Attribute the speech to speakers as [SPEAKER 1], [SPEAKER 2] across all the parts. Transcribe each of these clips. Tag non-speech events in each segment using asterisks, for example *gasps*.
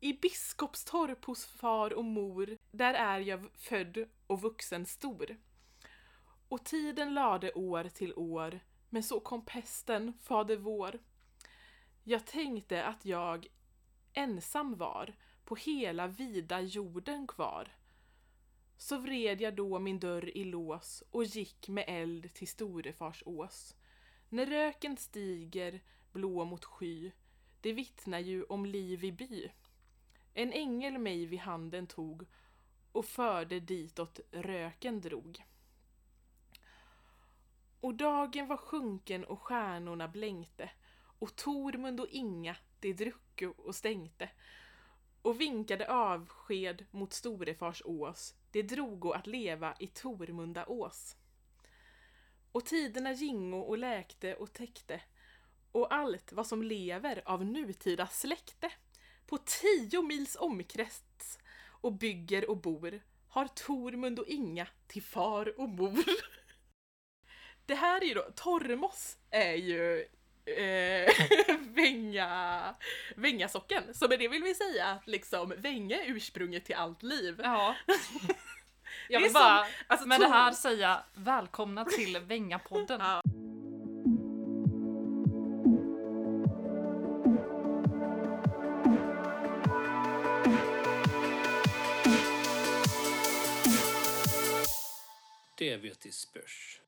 [SPEAKER 1] I Biskopstorp hos far och mor, där är jag född och vuxen stor. Och tiden lade år till år, men så kom pesten, fader vår. Jag tänkte att jag ensam var, på hela vida jorden kvar. Så vred jag då min dörr i lås och gick med eld till storefars ås. När röken stiger blå mot sky, det vittnar ju om liv i by. En ängel mig vid handen tog och förde ditåt röken drog. Och dagen var sjunken och stjärnorna blänkte och Tormund och Inga de drucko och stänkte och vinkade avsked mot storefars ås. Det drogo att leva i Tormunda ås. Och tiderna gingo och läkte och täckte och allt vad som lever av nutida släkte på tio mils omkrets och bygger och bor har Tormund och Inga till far och mor. *laughs* Det här är ju då, Tormos är ju eh, *laughs* Vänga, Vängasocken. Så med det vill vi säga att liksom Vänga är ursprunget till allt liv.
[SPEAKER 2] Ja.
[SPEAKER 1] Det är
[SPEAKER 2] Jag vill
[SPEAKER 1] som-
[SPEAKER 2] bara
[SPEAKER 1] alltså,
[SPEAKER 2] med det
[SPEAKER 1] Tor-
[SPEAKER 2] här säga välkomna till
[SPEAKER 1] *laughs*
[SPEAKER 2] Vängapodden.
[SPEAKER 1] Ja.
[SPEAKER 3] Det vet i spörs.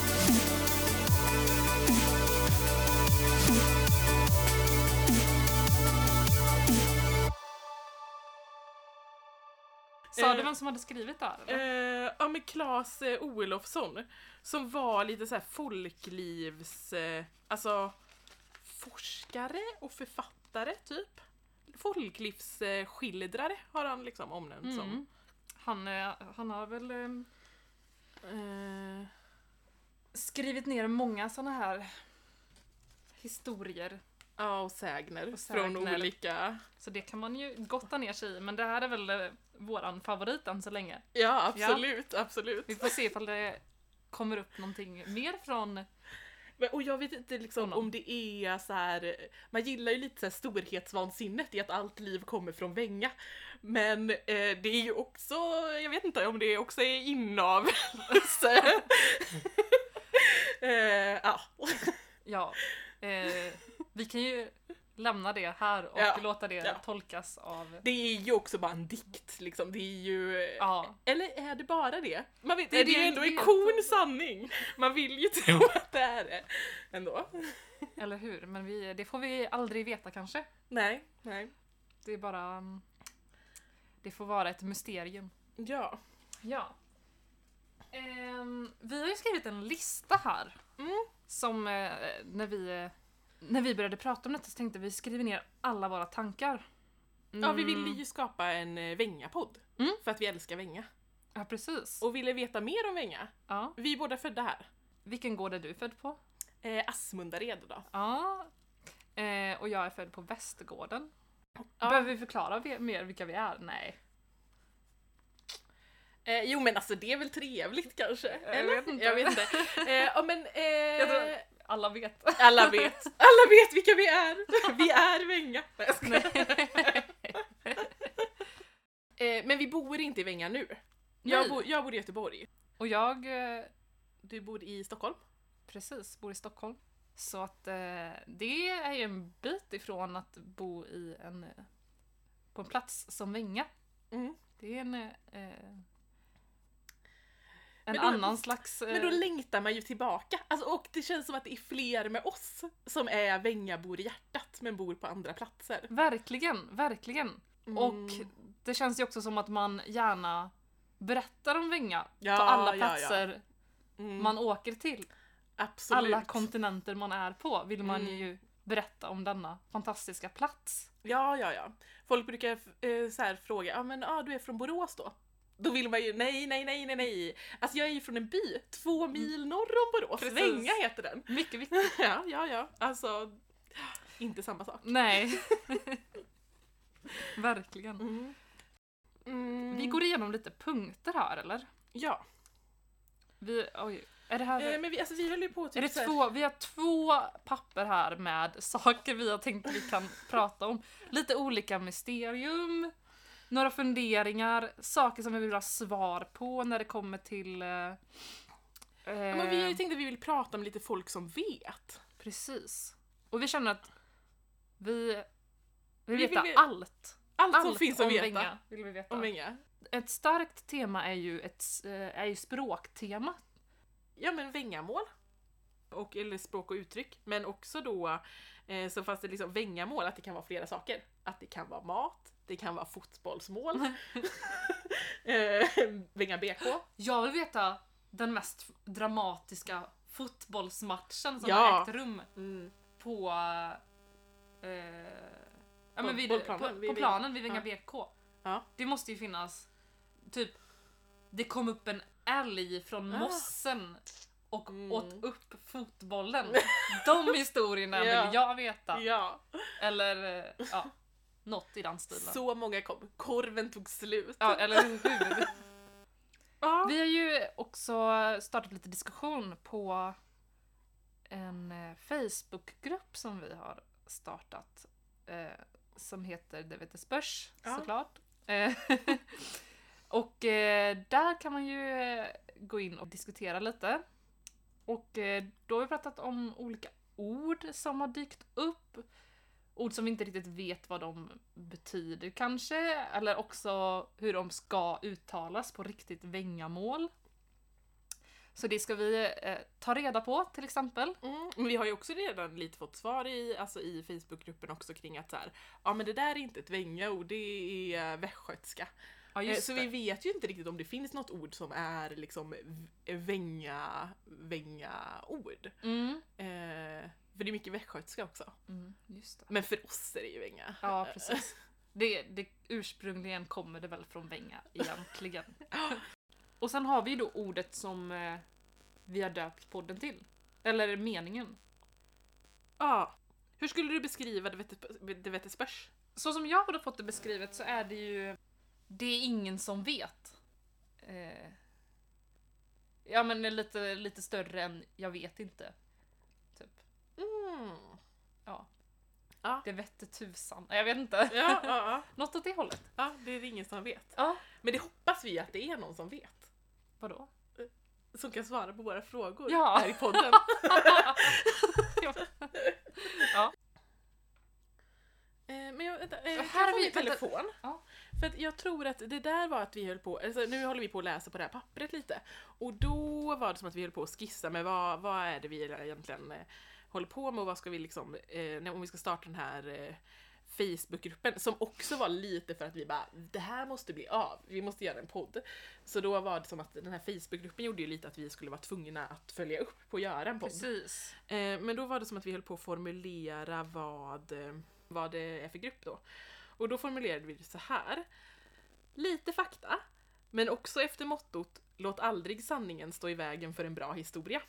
[SPEAKER 2] Sa
[SPEAKER 1] Eh,
[SPEAKER 2] du vem som hade skrivit det här? Eller?
[SPEAKER 1] Eh, ja men Claes eh, Olofsson som var lite så här folklivs... Eh, alltså forskare och författare typ. Folklivsskildrare eh, skildrare har han liksom omnämnt som.
[SPEAKER 2] Mm. Han, eh, han har väl eh,
[SPEAKER 1] Eh,
[SPEAKER 2] skrivit ner många såna här historier.
[SPEAKER 1] ja och sägner,
[SPEAKER 2] Och sägner.
[SPEAKER 1] från olika...
[SPEAKER 2] Så det kan man ju gotta ner sig i, men det här är väl eh, våran favorit än så länge.
[SPEAKER 1] Ja absolut, absolut.
[SPEAKER 2] Vi får se ifall det kommer upp någonting mer från...
[SPEAKER 1] Men, och jag vet inte liksom
[SPEAKER 2] Honom.
[SPEAKER 1] om det är så här. man gillar ju lite så här storhetsvansinnet i att allt liv kommer från Vänga. Men eh, det är ju också, jag vet inte om det också är inavelse.
[SPEAKER 2] *laughs*
[SPEAKER 1] eh, ja.
[SPEAKER 2] Ja, eh, vi kan ju lämna det här och
[SPEAKER 1] Ja,
[SPEAKER 2] låta det
[SPEAKER 1] ja.
[SPEAKER 2] tolkas av...
[SPEAKER 1] Det är ju också bara en dikt liksom, det är ju...
[SPEAKER 2] Ja,
[SPEAKER 1] Eller är det bara det? Man vet,
[SPEAKER 2] Nej,
[SPEAKER 1] det är
[SPEAKER 2] det
[SPEAKER 1] ju
[SPEAKER 2] är
[SPEAKER 1] ändå
[SPEAKER 2] helt-
[SPEAKER 1] en kon sanning! Man vill ju tro *laughs* att det är det. Ändå.
[SPEAKER 2] eller hur? Men vi, det får vi aldrig veta kanske.
[SPEAKER 1] Nej, nej.
[SPEAKER 2] Det är bara... mm, Det får vara ett mysterium.
[SPEAKER 1] Ja.
[SPEAKER 2] Ja. Ehm, vi har ju skrivit en lista här.
[SPEAKER 1] Mm.
[SPEAKER 2] Som eh, när vi... eh, När vi började prata om detta så tänkte vi skriva ner alla våra tankar.
[SPEAKER 1] Ja, vi
[SPEAKER 2] Mm,
[SPEAKER 1] ville ju skapa en eh, Vänga-podd.
[SPEAKER 2] Mm.
[SPEAKER 1] För att vi älskar Vänga.
[SPEAKER 2] Ja, precis.
[SPEAKER 1] Och ville veta mer om Vänga.
[SPEAKER 2] Ja.
[SPEAKER 1] Vi är båda födda här.
[SPEAKER 2] Vilken gård är du född på?
[SPEAKER 1] Eh, Asmundared då.
[SPEAKER 2] Ja. Eh, och jag är född på Västergården.
[SPEAKER 1] Ja.
[SPEAKER 2] Behöver vi förklara vi- mer vilka vi är? Nej.
[SPEAKER 1] Eh, jo men alltså det är väl trevligt kanske?
[SPEAKER 2] Jag
[SPEAKER 1] eller?
[SPEAKER 2] vet inte.
[SPEAKER 1] Jag vet inte. Eh, ja, men, eh,
[SPEAKER 2] Jag tror- Alla vet. *laughs*
[SPEAKER 1] Alla vet. Alla vet vilka vi är. Vi är Vänga. Nej, jag skojar.
[SPEAKER 2] *laughs*
[SPEAKER 1] eh, men vi bor inte i Vänga nu. Jag,
[SPEAKER 2] Nej.
[SPEAKER 1] bo, jag bor i Göteborg.
[SPEAKER 2] och jag eh,
[SPEAKER 1] Du bor i Stockholm.
[SPEAKER 2] precis bor i Stockholm. Så att eh, det är ju en bit ifrån att bo i en, eh, på en plats som Vänga.
[SPEAKER 1] Mm.
[SPEAKER 2] Det är en, eh, en
[SPEAKER 1] då-
[SPEAKER 2] annan slags... Eh,
[SPEAKER 1] Men då längtar man ju tillbaka. Alltså, och det känns som att det är fler med oss som är Vängabor i hjärtat men bor på andra platser.
[SPEAKER 2] Verkligen, verkligen.
[SPEAKER 1] Mm.
[SPEAKER 2] Och det känns ju också som att man gärna berättar om Vänga
[SPEAKER 1] Ja,
[SPEAKER 2] på
[SPEAKER 1] ja,
[SPEAKER 2] alla
[SPEAKER 1] ja.
[SPEAKER 2] platser
[SPEAKER 1] Mm,
[SPEAKER 2] man åker till.
[SPEAKER 1] absolut.
[SPEAKER 2] Alla kontinenter man är på vill man
[SPEAKER 1] Mm.
[SPEAKER 2] ju berätta om denna fantastiska plats.
[SPEAKER 1] Ja, ja, ja. Folk brukar eh, så här fråga, ja men ah, du är från Borås då? Då vill man ju, nej, nej, nej, nej, nej. Alltså jag är ju från en by två mil norr om Borås.
[SPEAKER 2] Mm. Precis.
[SPEAKER 1] Vänga heter den. *laughs*
[SPEAKER 2] Mycket viktigt.
[SPEAKER 1] ja, ja, ja. Alltså, inte samma sak.
[SPEAKER 2] Nej. *laughs* Verkligen.
[SPEAKER 1] Mm. Mm,
[SPEAKER 2] Vi går igenom lite punkter här eller?
[SPEAKER 1] Ja.
[SPEAKER 2] Vi, oj, Är det här...
[SPEAKER 1] Eh, men vi, alltså, vi höll ju på typ
[SPEAKER 2] är det
[SPEAKER 1] så här-
[SPEAKER 2] två, vi har två papper här med saker vi har tänkt vi kan prata om. Lite olika mysterium, några funderingar, saker som vi vill ha svar på när det kommer till... Eh,
[SPEAKER 1] Ja, men vi har ju
[SPEAKER 2] eh,
[SPEAKER 1] tänkt att vi vill prata om lite folk som vet.
[SPEAKER 2] Precis. Och vi känner att vi vill
[SPEAKER 1] Vi
[SPEAKER 2] veta
[SPEAKER 1] vill-
[SPEAKER 2] allt.
[SPEAKER 1] Allt, som finns att
[SPEAKER 2] om
[SPEAKER 1] veta.
[SPEAKER 2] Benga vill vi veta.
[SPEAKER 1] Om Benga.
[SPEAKER 2] Ett starkt tema är ju, ett, eh, är ju språktema.
[SPEAKER 1] Ja men vängamål. Och, eller språk och uttryck. Men också då eh, så fanns det liksom vängamål att det kan vara flera saker. Att det kan vara mat, det kan vara fotbollsmål. eh, Vänga BK.
[SPEAKER 2] Jag vill veta den mest dramatiska fotbollsmatchen som
[SPEAKER 1] Ja.
[SPEAKER 2] har ägt rum
[SPEAKER 1] Mm.
[SPEAKER 2] på... Eh, ja,
[SPEAKER 1] På-
[SPEAKER 2] men vid,
[SPEAKER 1] på
[SPEAKER 2] på,
[SPEAKER 1] planen,
[SPEAKER 2] på,
[SPEAKER 1] vid- vid-
[SPEAKER 2] planen vid Vinga
[SPEAKER 1] ja.
[SPEAKER 2] BK.
[SPEAKER 1] Ja.
[SPEAKER 2] Det måste ju finnas... Typ, det kom upp en älg från
[SPEAKER 1] Ah.
[SPEAKER 2] mossen och
[SPEAKER 1] Mm.
[SPEAKER 2] åt upp fotbollen.
[SPEAKER 1] *laughs*
[SPEAKER 2] De historierna
[SPEAKER 1] Ja.
[SPEAKER 2] vill jag veta.
[SPEAKER 1] Ja.
[SPEAKER 2] Eller eh, ja, något i den stilen.
[SPEAKER 1] Så många kom. Korven tog slut.
[SPEAKER 2] Ja, eller hur?
[SPEAKER 1] Ja.
[SPEAKER 2] Vi har ju också startat lite diskussion på en eh, Facebookgrupp som vi har startat eh, som heter Det vete spörs
[SPEAKER 1] Ja.
[SPEAKER 2] såklart. Eh, *laughs* och eh, där kan man ju eh, gå in och diskutera lite. Och eh, då har vi pratat om olika ord som har dykt upp. Ord som vi inte riktigt vet vad de betyder kanske, eller också hur de ska uttalas på riktigt vängamål. Så det ska vi eh, ta reda på till exempel.
[SPEAKER 1] Mm, men vi har ju också redan lite fått svar i, alltså i Facebookgruppen också kring att så här, ja men det där är inte ett vängaord, det är eh, västgötska.
[SPEAKER 2] Ja,
[SPEAKER 1] Eh, Så vi vet ju inte riktigt om det finns något ord som är liksom v- vänga, vänga ord.
[SPEAKER 2] Mm.
[SPEAKER 1] Eh, för det är mycket västgötska också.
[SPEAKER 2] Mm, just det.
[SPEAKER 1] Men för oss är det ju vänga.
[SPEAKER 2] Ja, precis. Eh, *laughs* Det, det, ursprungligen kommer det väl från vänga egentligen. *gasps* Och sen har vi ju då ordet som eh, vi har döpt podden till. Eller meningen.
[SPEAKER 1] Ja. Hur skulle du beskriva det vete- det vete spörs?
[SPEAKER 2] Så som jag har fått det beskrivet så är det ju Det är ingen som vet. Eh, ja men det är lite, lite större än jag vet inte. Typ.
[SPEAKER 1] Mm.
[SPEAKER 2] Ja.
[SPEAKER 1] Ja.
[SPEAKER 2] Det vette tusan. Jag vet inte. *laughs*
[SPEAKER 1] Ja, ja, ja,
[SPEAKER 2] Något åt det hållet.
[SPEAKER 1] ja, det är det ingen som vet.
[SPEAKER 2] Ja.
[SPEAKER 1] Men det hoppas vi att det är någon som vet.
[SPEAKER 2] Vadå?
[SPEAKER 1] Som kan svara på våra frågor
[SPEAKER 2] Ja. *laughs*
[SPEAKER 1] här i podden.
[SPEAKER 2] ja.
[SPEAKER 1] Eh, Men jag, vänta, eh,
[SPEAKER 2] Och
[SPEAKER 1] kan jag
[SPEAKER 2] här har
[SPEAKER 1] få
[SPEAKER 2] vi-
[SPEAKER 1] min
[SPEAKER 2] vänta.
[SPEAKER 1] telefon.
[SPEAKER 2] Ja.
[SPEAKER 1] För att jag tror att det där var att vi höll på, alltså nu håller vi på att läsa på det här pappret lite. Och då var det som att vi höll på att skissa med vad, vad är det vi egentligen eh, håller på med och vad ska vi liksom, eh, när- om vi ska starta den här eh, Facebookgruppen som också var lite för att vi bara det här måste bli av, vi måste göra en podd. Så då var det som att den här Facebookgruppen gjorde ju lite att vi skulle vara tvungna att följa upp på att göra en podd.
[SPEAKER 2] Precis.
[SPEAKER 1] Eh, men då var det som att vi höll på att formulera vad, eh, vad det är för grupp då. Och då formulerade vi det så här. Lite fakta, men också efter mottot Låt aldrig sanningen stå i vägen för en bra historia.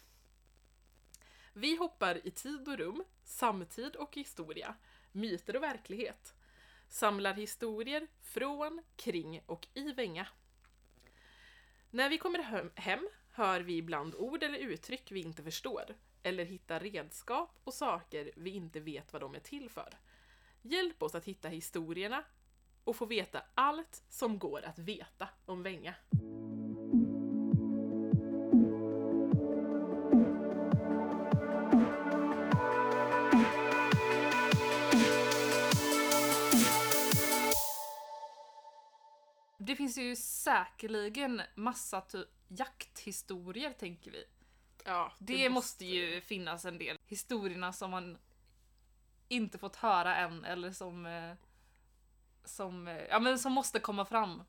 [SPEAKER 1] Vi hoppar i tid och rum, samtid och historia, myter och verklighet. Samlar historier från, kring och i Vänga. När vi kommer hem- hem hör vi ibland ord eller uttryck vi inte förstår, eller hittar redskap och saker vi inte vet vad de är till för. Hjälp oss att hitta historierna och få veta allt som går att veta om Vänga.
[SPEAKER 2] Det finns ju säkerligen massa typ jakthistorier tänker vi.
[SPEAKER 1] Ja,
[SPEAKER 2] Det, måste ju finnas en del. Historierna som man inte fått höra än eller som eh, som, eh, ja, men som måste komma fram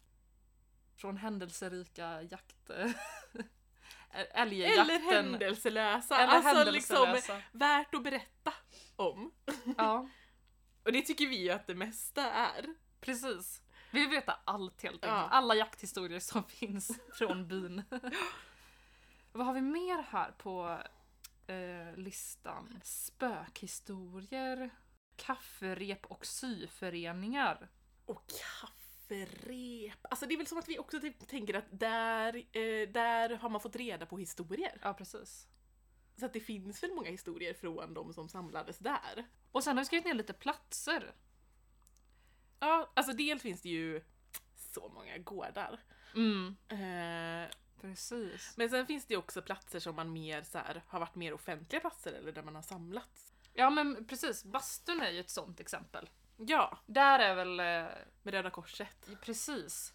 [SPEAKER 2] från händelserika jakt... *laughs* eh, Älgjakten.
[SPEAKER 1] Eller händelselösa.
[SPEAKER 2] Eller
[SPEAKER 1] alltså liksom
[SPEAKER 2] händelselösa.
[SPEAKER 1] värt att berätta om.
[SPEAKER 2] Ja,
[SPEAKER 1] Och det tycker vi ju att det mesta är.
[SPEAKER 2] precis. Vi vill veta allt helt enkelt.
[SPEAKER 1] Ja.
[SPEAKER 2] Alla jakthistorier som *laughs* finns från *laughs* byn. Vad har vi mer här på eh, listan? Spökhistorier, kafferep och syföreningar.
[SPEAKER 1] Och kaffe. Frep. Alltså det är väl som att vi också typ tänker att där, eh, där har man fått reda på historier.
[SPEAKER 2] Ja, precis.
[SPEAKER 1] Så att det finns väl många historier från de som samlades där.
[SPEAKER 2] Och sen har vi skrivit ner lite platser.
[SPEAKER 1] Ja, alltså dels finns det ju så många gårdar.
[SPEAKER 2] Mm,
[SPEAKER 1] Eh,
[SPEAKER 2] precis.
[SPEAKER 1] men sen finns det ju också platser som man mer så här, har varit mer offentliga platser eller där man har samlats.
[SPEAKER 2] Ja men precis, bastun är ju ett sånt exempel.
[SPEAKER 1] Ja,
[SPEAKER 2] Där är väl, eh,
[SPEAKER 1] med Röda Korset.
[SPEAKER 2] precis.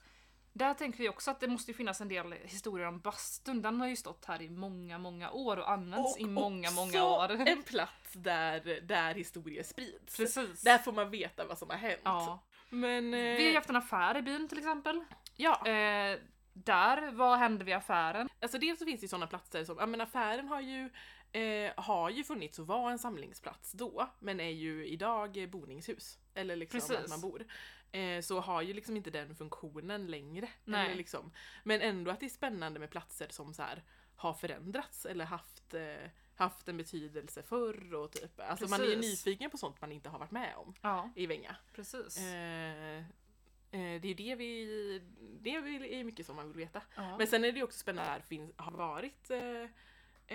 [SPEAKER 2] Där tänker vi också att det måste ju finnas en del historier om bastun. Den har ju stått här i många, många år och använts i många, många år.
[SPEAKER 1] *laughs*
[SPEAKER 2] *laughs*
[SPEAKER 1] också en plats där, där historier sprids.
[SPEAKER 2] Precis.
[SPEAKER 1] Där får man veta vad som har hänt.
[SPEAKER 2] Ja.
[SPEAKER 1] Men... eh,
[SPEAKER 2] Vi har ju haft en affär i byn till exempel.
[SPEAKER 1] ja.
[SPEAKER 2] Eh, där, vad hände vid affären?
[SPEAKER 1] Alltså dels så finns det ju sådana platser som, ja men affären har ju, eh, har ju funnits och var en samlingsplats då, men är ju idag eh, boningshus. Eller liksom
[SPEAKER 2] Precis.
[SPEAKER 1] att man bor. Eh, så har ju liksom inte den funktionen längre.
[SPEAKER 2] Nej.
[SPEAKER 1] Eller liksom, men ändå att det är spännande med platser som så här har förändrats eller haft, eh, haft en betydelse förr och typ. Alltså man är ju
[SPEAKER 2] Precis.
[SPEAKER 1] nyfiken på sånt man inte har varit med om
[SPEAKER 2] Ja,
[SPEAKER 1] i Vänga.
[SPEAKER 2] precis.
[SPEAKER 1] Eh, eh, det är ju det vi, det vi- är mycket som man vill veta.
[SPEAKER 2] ja.
[SPEAKER 1] Men sen är det ju också spännande att det finns, har varit eh,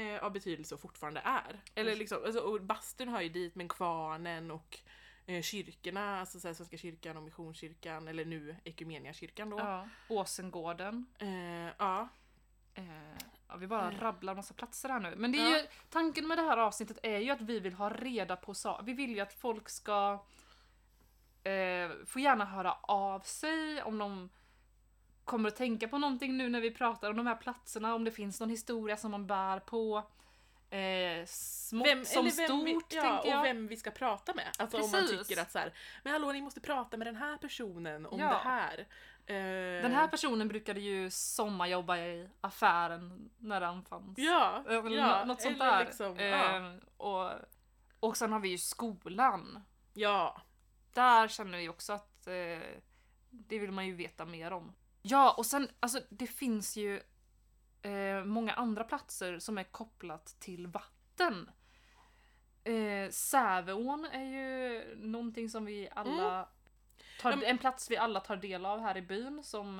[SPEAKER 1] eh, av betydelse och fortfarande är. Eller
[SPEAKER 2] Just.
[SPEAKER 1] liksom, alltså, och bastun hör ju dit, men kvarnen och eh, kyrkorna, alltså så här, Svenska kyrkan och Missionskyrkan, eller nu Equmeniakyrkan då. Ja.
[SPEAKER 2] ja. Åsengården.
[SPEAKER 1] Eh, ja.
[SPEAKER 2] Eh, ja, vi bara
[SPEAKER 1] Eh.
[SPEAKER 2] rabblar massa platser här nu. Men det är
[SPEAKER 1] Ja.
[SPEAKER 2] ju, tanken med det här avsnittet är ju att vi vill ha reda på saker. Vi vill ju att folk ska eh, få gärna höra av sig om de kommer att tänka på någonting nu när vi pratar om de här platserna, om det finns någon historia som man bär på. Eh, smått som stort,
[SPEAKER 1] vi, ja,
[SPEAKER 2] tänker jag.
[SPEAKER 1] och vem vi ska prata med. Alltså om man
[SPEAKER 2] Precis.
[SPEAKER 1] tycker att så här, men hallå ni måste prata med den här personen om
[SPEAKER 2] Ja.
[SPEAKER 1] det här. Eh,
[SPEAKER 2] Den här personen brukade ju sommarjobba i affären när den fanns.
[SPEAKER 1] Ja,
[SPEAKER 2] Eh, Eller
[SPEAKER 1] ja,
[SPEAKER 2] nå- något sånt
[SPEAKER 1] eller
[SPEAKER 2] där.
[SPEAKER 1] liksom,
[SPEAKER 2] eh,
[SPEAKER 1] ja.
[SPEAKER 2] och, och sen har vi ju skolan.
[SPEAKER 1] ja.
[SPEAKER 2] Där känner vi också att eh, det vill man ju veta mer om. Ja, och sen alltså det finns ju eh, många andra platser som är kopplat till vatten. Eh, Säveån är ju någonting som vi alla
[SPEAKER 1] Mm.
[SPEAKER 2] tar,
[SPEAKER 1] Ja, men-
[SPEAKER 2] en plats vi alla tar del av här i byn som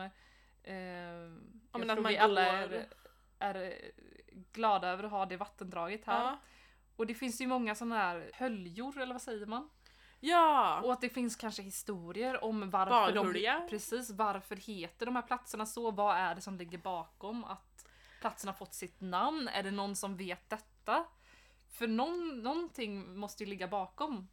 [SPEAKER 2] eh, jag
[SPEAKER 1] men att
[SPEAKER 2] tror
[SPEAKER 1] man
[SPEAKER 2] vi alla
[SPEAKER 1] går-
[SPEAKER 2] är, är eh, glada över att ha det vattendraget här.
[SPEAKER 1] Ja.
[SPEAKER 2] Och det finns ju många sådana här höljor, eller vad säger man?
[SPEAKER 1] ja.
[SPEAKER 2] Och att det finns kanske historier om varför
[SPEAKER 1] Badhölja.
[SPEAKER 2] de, precis, varför heter de här platserna så? Vad är det som ligger bakom att platserna fått sitt namn? Är det någon som vet detta? För någon, någonting måste ju ligga bakom.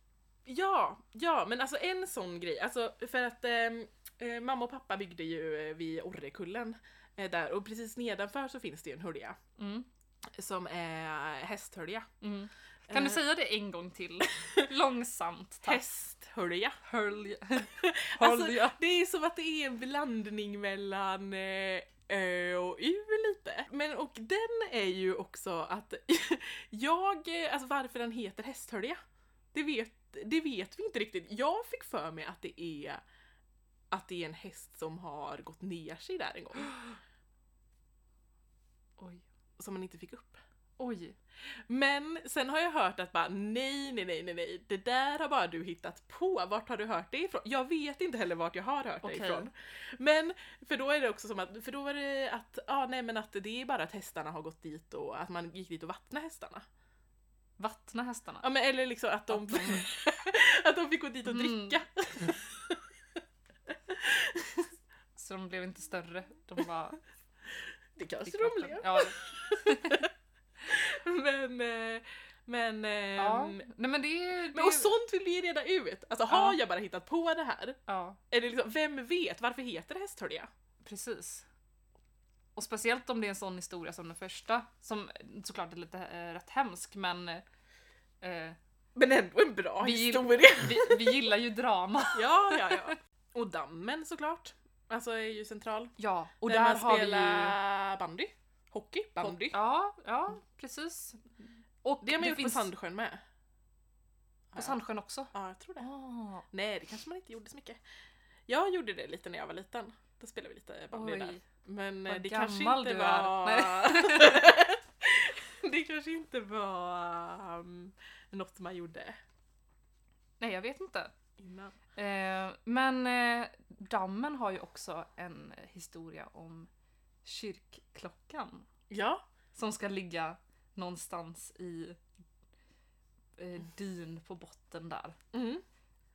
[SPEAKER 1] Ja, ja men alltså en sån grej, alltså för att ehm, eh, mamma och pappa byggde ju eh, vid Orrekullen eh, där och precis nedanför så finns det ju en hölja
[SPEAKER 2] Mm.
[SPEAKER 1] som är hästhölja.
[SPEAKER 2] Mm. Kan du
[SPEAKER 1] Eh,
[SPEAKER 2] säga det en gång till?
[SPEAKER 1] *laughs*
[SPEAKER 2] Långsamt, tack.
[SPEAKER 1] Hästhölja.
[SPEAKER 2] Hölj.
[SPEAKER 1] *laughs*
[SPEAKER 2] *laughs*
[SPEAKER 1] Alltså,
[SPEAKER 2] Hölja.
[SPEAKER 1] det är som att det är en blandning mellan eh, Ö och U lite. Men och den är ju också att *laughs* jag, eh, alltså varför den heter hästhölja, det vet, det vet vi inte riktigt. Jag fick för mig att det är att det är en häst som har gått ner sig där en gång,
[SPEAKER 2] Oj.
[SPEAKER 1] som man inte fick upp.
[SPEAKER 2] Oj.
[SPEAKER 1] Men sen har jag hört att bara nej, nej, nej, nej, nej, det där har bara du hittat på. Vart har du hört det ifrån? Jag vet inte heller vart jag har hört det
[SPEAKER 2] Okej.
[SPEAKER 1] ifrån. Men för då är det också som att, för då var det att, ja ah, nej men att det är bara att hästarna har gått dit och att man gick dit och vattnade hästarna.
[SPEAKER 2] Vattna hästarna.
[SPEAKER 1] Ja men eller liksom att de,
[SPEAKER 2] Att de-
[SPEAKER 1] *laughs* att de fick gå dit och
[SPEAKER 2] Mm.
[SPEAKER 1] dricka.
[SPEAKER 2] Så de blev inte större. De
[SPEAKER 1] *laughs*
[SPEAKER 2] bara
[SPEAKER 1] Det kanske
[SPEAKER 2] fick
[SPEAKER 1] de
[SPEAKER 2] vatten.
[SPEAKER 1] blev.
[SPEAKER 2] Ja,
[SPEAKER 1] Men, eh, men,
[SPEAKER 2] ja.
[SPEAKER 1] ehm,
[SPEAKER 2] Nej men det är... Det
[SPEAKER 1] men och
[SPEAKER 2] är-
[SPEAKER 1] sånt vill vi ju reda ut. Alltså har
[SPEAKER 2] Ja.
[SPEAKER 1] jag bara hittat på det här?
[SPEAKER 2] Ja.
[SPEAKER 1] Eller liksom, vem vet, varför heter det hästhölja?
[SPEAKER 2] Precis. Och speciellt om det är en sån historia som den första, som såklart är lite eh, rätt hemsk men eh,
[SPEAKER 1] Men ändå en bra
[SPEAKER 2] Vi-
[SPEAKER 1] historia. *laughs*
[SPEAKER 2] vi, vi gillar ju drama.
[SPEAKER 1] Ja, ja, ja. Och dammen såklart. Alltså är ju central.
[SPEAKER 2] *laughs* Ja, och
[SPEAKER 1] Där,
[SPEAKER 2] där,
[SPEAKER 1] man
[SPEAKER 2] har vi ju...
[SPEAKER 1] spelar bandy. Hockey, bandy.
[SPEAKER 2] Ja, ja, precis. Och
[SPEAKER 1] Det har man gjort
[SPEAKER 2] finns
[SPEAKER 1] på Sandsjön med.
[SPEAKER 2] på Sandsjön också.
[SPEAKER 1] Ja, jag tror det.
[SPEAKER 2] Ah,
[SPEAKER 1] Nej, det kanske man inte gjorde så mycket. Jag gjorde det lite när jag var liten. Då spelade vi lite bandy
[SPEAKER 2] Oj.
[SPEAKER 1] där. Men
[SPEAKER 2] Vad
[SPEAKER 1] eh, det kanske
[SPEAKER 2] gammal
[SPEAKER 1] inte
[SPEAKER 2] du är.
[SPEAKER 1] var... *laughs* det kanske inte var um, något man gjorde.
[SPEAKER 2] nej, jag vet inte.
[SPEAKER 1] Innan.
[SPEAKER 2] Eh, men eh, dammen har ju också en eh, historia om kyrkklockan
[SPEAKER 1] Ja,
[SPEAKER 2] som ska ligga någonstans i eh, dyn på botten där.
[SPEAKER 1] mm.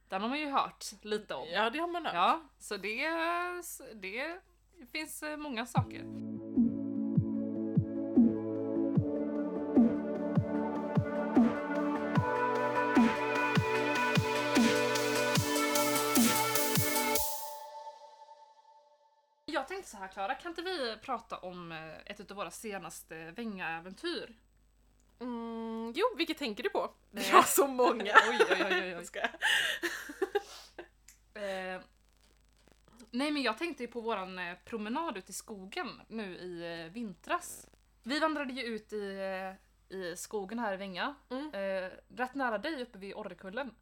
[SPEAKER 2] Den har man ju hört lite om.
[SPEAKER 1] ja det har man hört.
[SPEAKER 2] Ja, så det, är- det finns eh, många saker. Jag tänkte så här Klara, kan inte vi prata om eh, ett av våra senaste Vänga-äventyr?
[SPEAKER 1] Mm, jo, vilket tänker du på?
[SPEAKER 2] Nej.
[SPEAKER 1] Jag har så många!
[SPEAKER 2] *laughs* Oj, oj, oj, oj, oj.
[SPEAKER 1] Ska jag?
[SPEAKER 2] Eh, nej men jag tänkte ju på våran eh, promenad ut i skogen nu i eh, vintras. Vi vandrade ju ut i, eh, i skogen här i Vänga,
[SPEAKER 1] Mm.
[SPEAKER 2] eh, rätt nära dig uppe vid Orrekullen.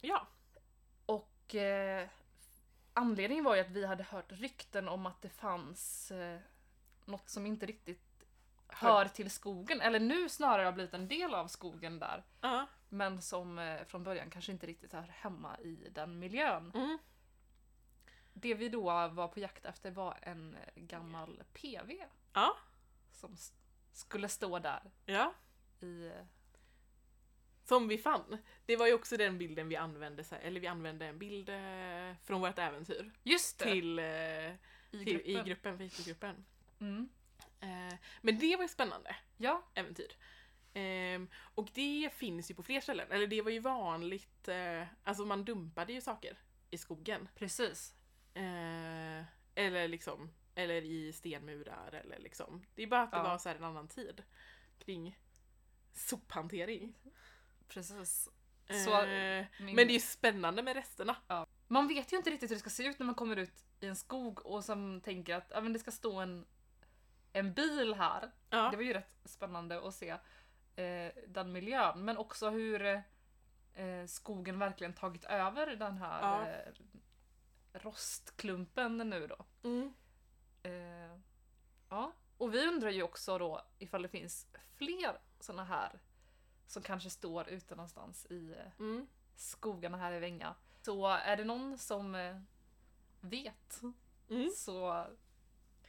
[SPEAKER 1] Ja.
[SPEAKER 2] Och eh, anledningen var ju att vi hade hört rykten om att det fanns eh, något som inte riktigt hör till skogen, eller nu snarare har blivit en del av skogen där.
[SPEAKER 1] Ja.
[SPEAKER 2] Men som eh, från början kanske inte riktigt hör hemma i den miljön.
[SPEAKER 1] Mm.
[SPEAKER 2] Det vi då var på jakt efter var en gammal PV
[SPEAKER 1] Ja.
[SPEAKER 2] som s- skulle stå där
[SPEAKER 1] ja.
[SPEAKER 2] i...
[SPEAKER 1] Som vi fann. Det var ju också den bilden vi använde, så här, eller vi använde en bild eh, från vårt äventyr
[SPEAKER 2] Just det!
[SPEAKER 1] till, eh,
[SPEAKER 2] typ, I
[SPEAKER 1] till
[SPEAKER 2] gruppen.
[SPEAKER 1] i gruppen, Facebookgruppen.
[SPEAKER 2] Mm.
[SPEAKER 1] Eh, men det var ju spännande
[SPEAKER 2] Ja,
[SPEAKER 1] äventyr. Ehm, och det finns ju på fler ställen, eller det var ju vanligt, eh, alltså man dumpade ju saker i skogen.
[SPEAKER 2] precis.
[SPEAKER 1] Eh, eller liksom, eller i stenmurar eller liksom. Det är bara att det
[SPEAKER 2] Ja.
[SPEAKER 1] var så här en annan tid kring sophantering.
[SPEAKER 2] Precis. Så-
[SPEAKER 1] Eh,
[SPEAKER 2] min-
[SPEAKER 1] Men det är ju spännande med resterna.
[SPEAKER 2] Man vet ju inte riktigt hur det ska se ut när man kommer ut i en skog och som tänker att ja, men det ska stå en, en bil här.
[SPEAKER 1] Ja.
[SPEAKER 2] Det var ju rätt spännande att se eh, den miljön, men också hur eh, eh, skogen verkligen tagit över den här
[SPEAKER 1] Ja.
[SPEAKER 2] eh, rostklumpen nu då.
[SPEAKER 1] Mm.
[SPEAKER 2] Eh, ja. Och vi undrar ju också då ifall det finns fler såna här som kanske står ute någonstans i eh,
[SPEAKER 1] Mm.
[SPEAKER 2] skogarna här i Vänga. Så är det någon som eh, vet
[SPEAKER 1] Mm.
[SPEAKER 2] så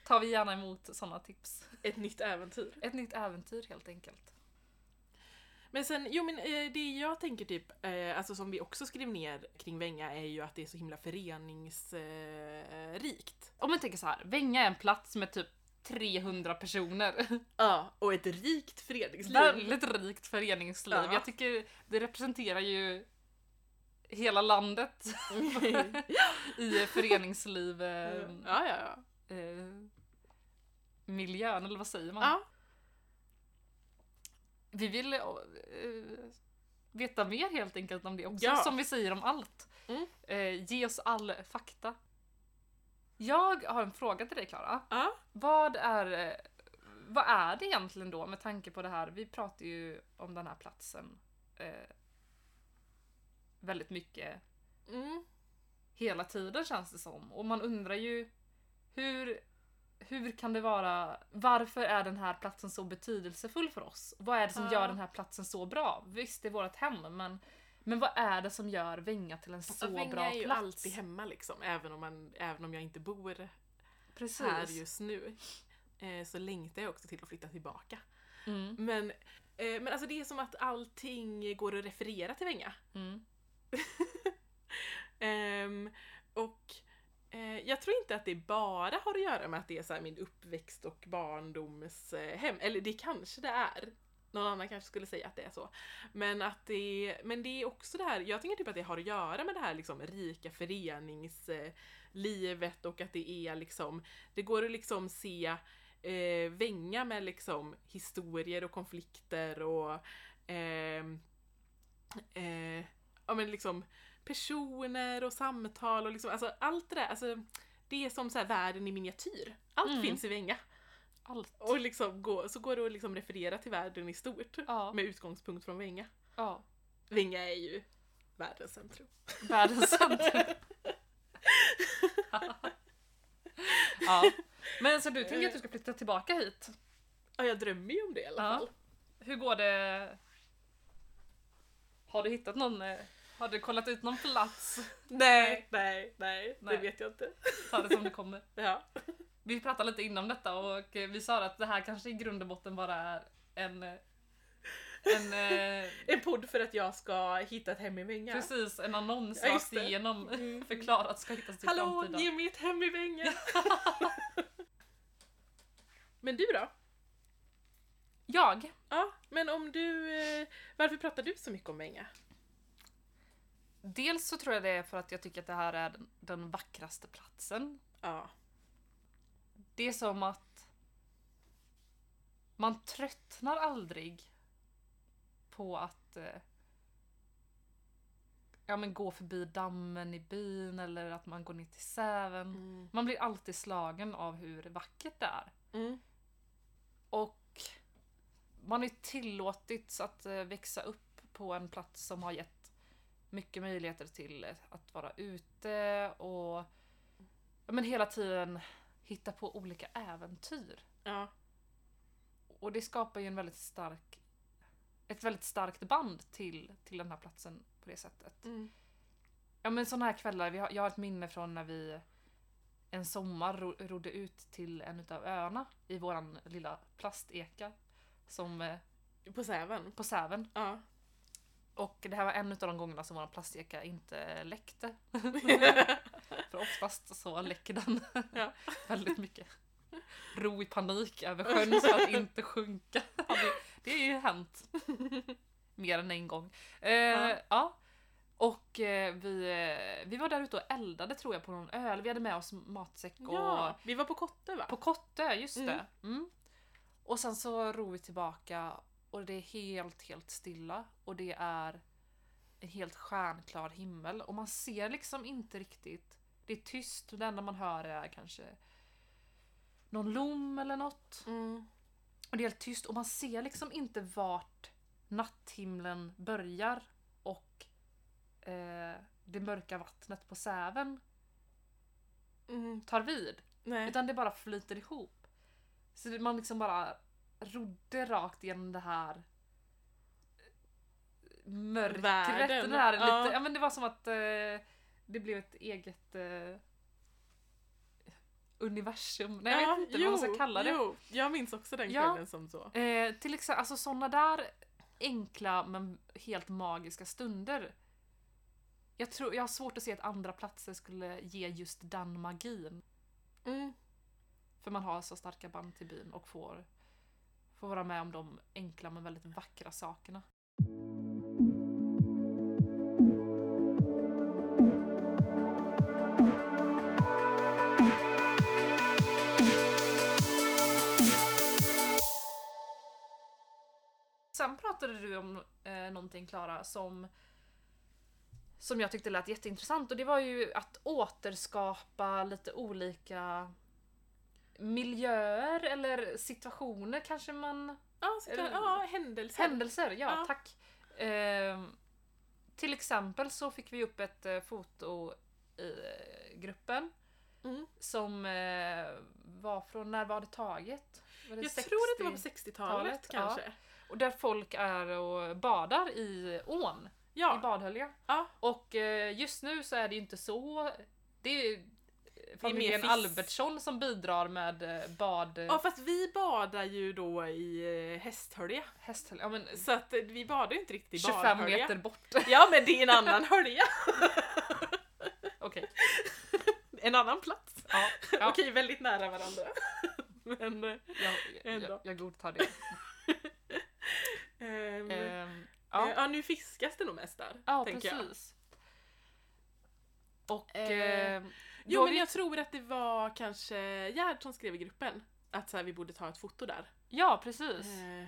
[SPEAKER 2] tar vi gärna emot såna tips.
[SPEAKER 1] Ett nytt äventyr.
[SPEAKER 2] Ett nytt äventyr helt enkelt.
[SPEAKER 1] Men sen, jo men eh, det jag tänker typ, eh, alltså som vi också skrev ner kring Vänga är ju att det är så himla föreningsrikt.
[SPEAKER 2] Om man tänker så här, Vänga är en plats med typ 300 *laughs* personer.
[SPEAKER 1] Ja, och ett rikt föreningsliv. *laughs*
[SPEAKER 2] Väldigt rikt föreningsliv.
[SPEAKER 1] Ja.
[SPEAKER 2] Jag tycker det representerar ju hela landet i föreningsliv eh,
[SPEAKER 1] Mm. ja, ja, ja.
[SPEAKER 2] eh, miljön, eller vad säger man?
[SPEAKER 1] Ja.
[SPEAKER 2] Vi vill eh, eh, veta mer helt enkelt om det också,
[SPEAKER 1] Ja.
[SPEAKER 2] som vi säger om allt.
[SPEAKER 1] Mm.
[SPEAKER 2] Eh, ge oss all fakta. Jag har en fråga till dig Klara.
[SPEAKER 1] Ja.
[SPEAKER 2] Vad är, eh, vad är det egentligen då med tanke på det här? Vi pratar ju om den här platsen eh, väldigt mycket
[SPEAKER 1] Mm.
[SPEAKER 2] hela tiden känns det som. Och man undrar ju hur, hur kan det vara, varför är den här platsen så betydelsefull för oss? Vad är det som
[SPEAKER 1] Ja.
[SPEAKER 2] gör den här platsen så bra? Visst, det är vårt hem, men, men vad är det som gör Vänga till en så
[SPEAKER 1] Så Vänga
[SPEAKER 2] bra
[SPEAKER 1] Alltså, är ju
[SPEAKER 2] plats?
[SPEAKER 1] alltid hemma liksom, även om, man, även om jag inte bor
[SPEAKER 2] Precis.
[SPEAKER 1] här just nu. Eh, så längtar jag också till att flytta tillbaka.
[SPEAKER 2] Mm,
[SPEAKER 1] Men, eh, men alltså det är som att allting går att referera till Vänga.
[SPEAKER 2] mm.
[SPEAKER 1] Ehm, och eh, jag tror inte att det bara har att göra med att det är så här min uppväxt och barndoms eh, hem. Eller det kanske det är. Någon annan kanske skulle säga att det är så. Men, att det, men det är också det här, jag tänker typ att det har att göra med det här liksom rika föreningslivet och att det är liksom, det går att liksom se eh, Vänga med liksom historier och konflikter och ehm, eh, ja men liksom personer och samtal och liksom, alltså allt det där, alltså det är som så här världen i miniatyr. Allt
[SPEAKER 2] Mm.
[SPEAKER 1] finns i Vänga.
[SPEAKER 2] Allt.
[SPEAKER 1] Och liksom gå, så går det att liksom referera till världen i stort
[SPEAKER 2] Ja,
[SPEAKER 1] med utgångspunkt från Vänga.
[SPEAKER 2] ja.
[SPEAKER 1] Vinga är ju världens centrum.
[SPEAKER 2] Världens centrum.
[SPEAKER 1] *laughs*
[SPEAKER 2] *laughs* ja. Men så du tänker att du ska flytta tillbaka hit?
[SPEAKER 1] Ja, jag drömmer ju om det i alla
[SPEAKER 2] Ja.
[SPEAKER 1] fall.
[SPEAKER 2] Hur går det? Har du hittat någon? eh, Har du kollat ut någon plats? *laughs*
[SPEAKER 1] Nej, nej, nej,
[SPEAKER 2] Nej.
[SPEAKER 1] det vet jag inte.
[SPEAKER 2] Ta det som det kommer.
[SPEAKER 1] Ja.
[SPEAKER 2] Vi pratade lite innan detta och eh, vi sa att det här kanske i grund och botten bara är en... eh, En... eh,
[SPEAKER 1] *laughs* En podd för att jag ska hitta ett hem i Vänga.
[SPEAKER 2] Precis, en annons
[SPEAKER 1] Ja, just
[SPEAKER 2] rakt
[SPEAKER 1] det.
[SPEAKER 2] igenom
[SPEAKER 1] Mm.
[SPEAKER 2] *laughs* förklarat ska hittas till
[SPEAKER 1] Hallå,
[SPEAKER 2] framtida.
[SPEAKER 1] ge mig ett hem i
[SPEAKER 2] *laughs*
[SPEAKER 1] Vänga! men du då?
[SPEAKER 2] Jag?
[SPEAKER 1] Ja, men om du... eh, Varför pratar du så mycket om Vänga?
[SPEAKER 2] Dels så tror jag det är för att jag tycker att det här är den, den vackraste platsen.
[SPEAKER 1] Ja.
[SPEAKER 2] Det är som att man tröttnar aldrig på att eh, ja, men gå förbi dammen i byn eller att man går ner till Säven.
[SPEAKER 1] Mm.
[SPEAKER 2] Man blir alltid slagen av hur vackert det är.
[SPEAKER 1] Mm.
[SPEAKER 2] Och man är tillåtits att eh, växa upp på en plats som har gett mycket möjligheter till eh, att vara ute och ja, men hela tiden hitta på olika äventyr.
[SPEAKER 1] Ja.
[SPEAKER 2] Och det skapar ju en väldigt stark, ett väldigt starkt band till, till den här platsen på det sättet.
[SPEAKER 1] Mm.
[SPEAKER 2] Ja men sådana här kvällar, vi har, jag har ett minne från när vi en sommar ro, rodde ut till en utav öarna i våran lilla plasteka som eh,
[SPEAKER 1] På Säven?
[SPEAKER 2] på Säven.
[SPEAKER 1] Ja.
[SPEAKER 2] Och det här var en utav de gångerna som våran plasteka inte läckte. För oftast så läcker den
[SPEAKER 1] Ja.
[SPEAKER 2] väldigt mycket. Ro i panik över sjön så att inte sjunka. Ja, det- Det har ju hänt. Mer än en gång. Eh,
[SPEAKER 1] Ja.
[SPEAKER 2] ja. Och eh, vi, eh, vi var där ute och eldade tror jag på någon öl. Vi hade med oss matsäck och
[SPEAKER 1] ja. Vi var på Kotte va?
[SPEAKER 2] på Kottö, just
[SPEAKER 1] Mm.
[SPEAKER 2] det. Mm. Och sen så ror vi tillbaka och det är helt, helt stilla och det är en helt stjärnklar himmel och man ser liksom inte riktigt. Det är tyst och det enda man hör är kanske någon lom eller något.
[SPEAKER 1] Mm.
[SPEAKER 2] Och det är helt tyst och man ser liksom inte vart natthimlen börjar och eh, det mörka vattnet på Säven
[SPEAKER 1] Mm.
[SPEAKER 2] tar vid.
[SPEAKER 1] Nej.
[SPEAKER 2] Utan det bara flyter ihop. Så det- man liksom bara rodde rakt genom det här eh, mörkret.
[SPEAKER 1] Världen.
[SPEAKER 2] Det, här lite,
[SPEAKER 1] Ja.
[SPEAKER 2] ja. men det var som att eh, det blev ett eget eh, universum. Nej, jag vet inte vad man ska kalla det.
[SPEAKER 1] Jo, jag minns också den
[SPEAKER 2] Ja.
[SPEAKER 1] kvällen som så.
[SPEAKER 2] Eh, till exempel alltså sådana där enkla men helt magiska stunder. Jag, tror, jag har svårt att se att andra platser skulle ge just den magin.
[SPEAKER 1] Mm.
[SPEAKER 2] För man har så starka band till byn och får, får vara med om de enkla men väldigt vackra sakerna. Sen pratade du om eh, någonting Klara som, som jag tyckte lät jätteintressant och det var ju att återskapa lite olika miljöer eller situationer kanske man...
[SPEAKER 1] Ja, så kan,
[SPEAKER 2] Eller-
[SPEAKER 1] ja, händelser.
[SPEAKER 2] Händelser, ja,
[SPEAKER 1] Ja.
[SPEAKER 2] tack. Ehm, till exempel så fick vi upp ett eh, foto i eh, gruppen
[SPEAKER 1] Mm.
[SPEAKER 2] som eh, var från, när var det taget? Var det
[SPEAKER 1] Jag tror att det var på
[SPEAKER 2] 60?
[SPEAKER 1] 60-talet
[SPEAKER 2] talet, ja.
[SPEAKER 1] kanske.
[SPEAKER 2] Och där folk är och badar i ån, i
[SPEAKER 1] Ja.
[SPEAKER 2] Badhölja.
[SPEAKER 1] Ja.
[SPEAKER 2] Och eh, just nu så är det ju inte så... Det är ju eh, familjen
[SPEAKER 1] fisk.
[SPEAKER 2] Albertsson som bidrar med eh, bad...
[SPEAKER 1] ja, fast vi badar ju då i eh, Hästhölje.
[SPEAKER 2] Hästhölja. Ja, men,
[SPEAKER 1] Så att eh, vi badar ju inte riktigt i
[SPEAKER 2] 25
[SPEAKER 1] badhölje.
[SPEAKER 2] Mm. meter bort.
[SPEAKER 1] Ja, men det är en
[SPEAKER 2] *laughs*
[SPEAKER 1] annan hölja.
[SPEAKER 2] Okej.
[SPEAKER 1] En annan plats.
[SPEAKER 2] *laughs* Ja, ja.
[SPEAKER 1] Okej, väldigt nära varandra. *laughs* men... eh,
[SPEAKER 2] Jag,
[SPEAKER 1] Ändå.
[SPEAKER 2] jag, jag godtar det.
[SPEAKER 1] ehm, eh,
[SPEAKER 2] Ehm,
[SPEAKER 1] ja.
[SPEAKER 2] ja,
[SPEAKER 1] nu fiskas det nog mest där.
[SPEAKER 2] ja
[SPEAKER 1] tänker jag.
[SPEAKER 2] precis. Och...
[SPEAKER 1] Eh,
[SPEAKER 2] ehm, då
[SPEAKER 1] Jo,
[SPEAKER 2] har
[SPEAKER 1] men
[SPEAKER 2] vi-
[SPEAKER 1] jag tror att det var kanske Gerd som skrev i gruppen att så här, vi borde ta ett foto där.
[SPEAKER 2] Ja, precis.
[SPEAKER 1] Eh,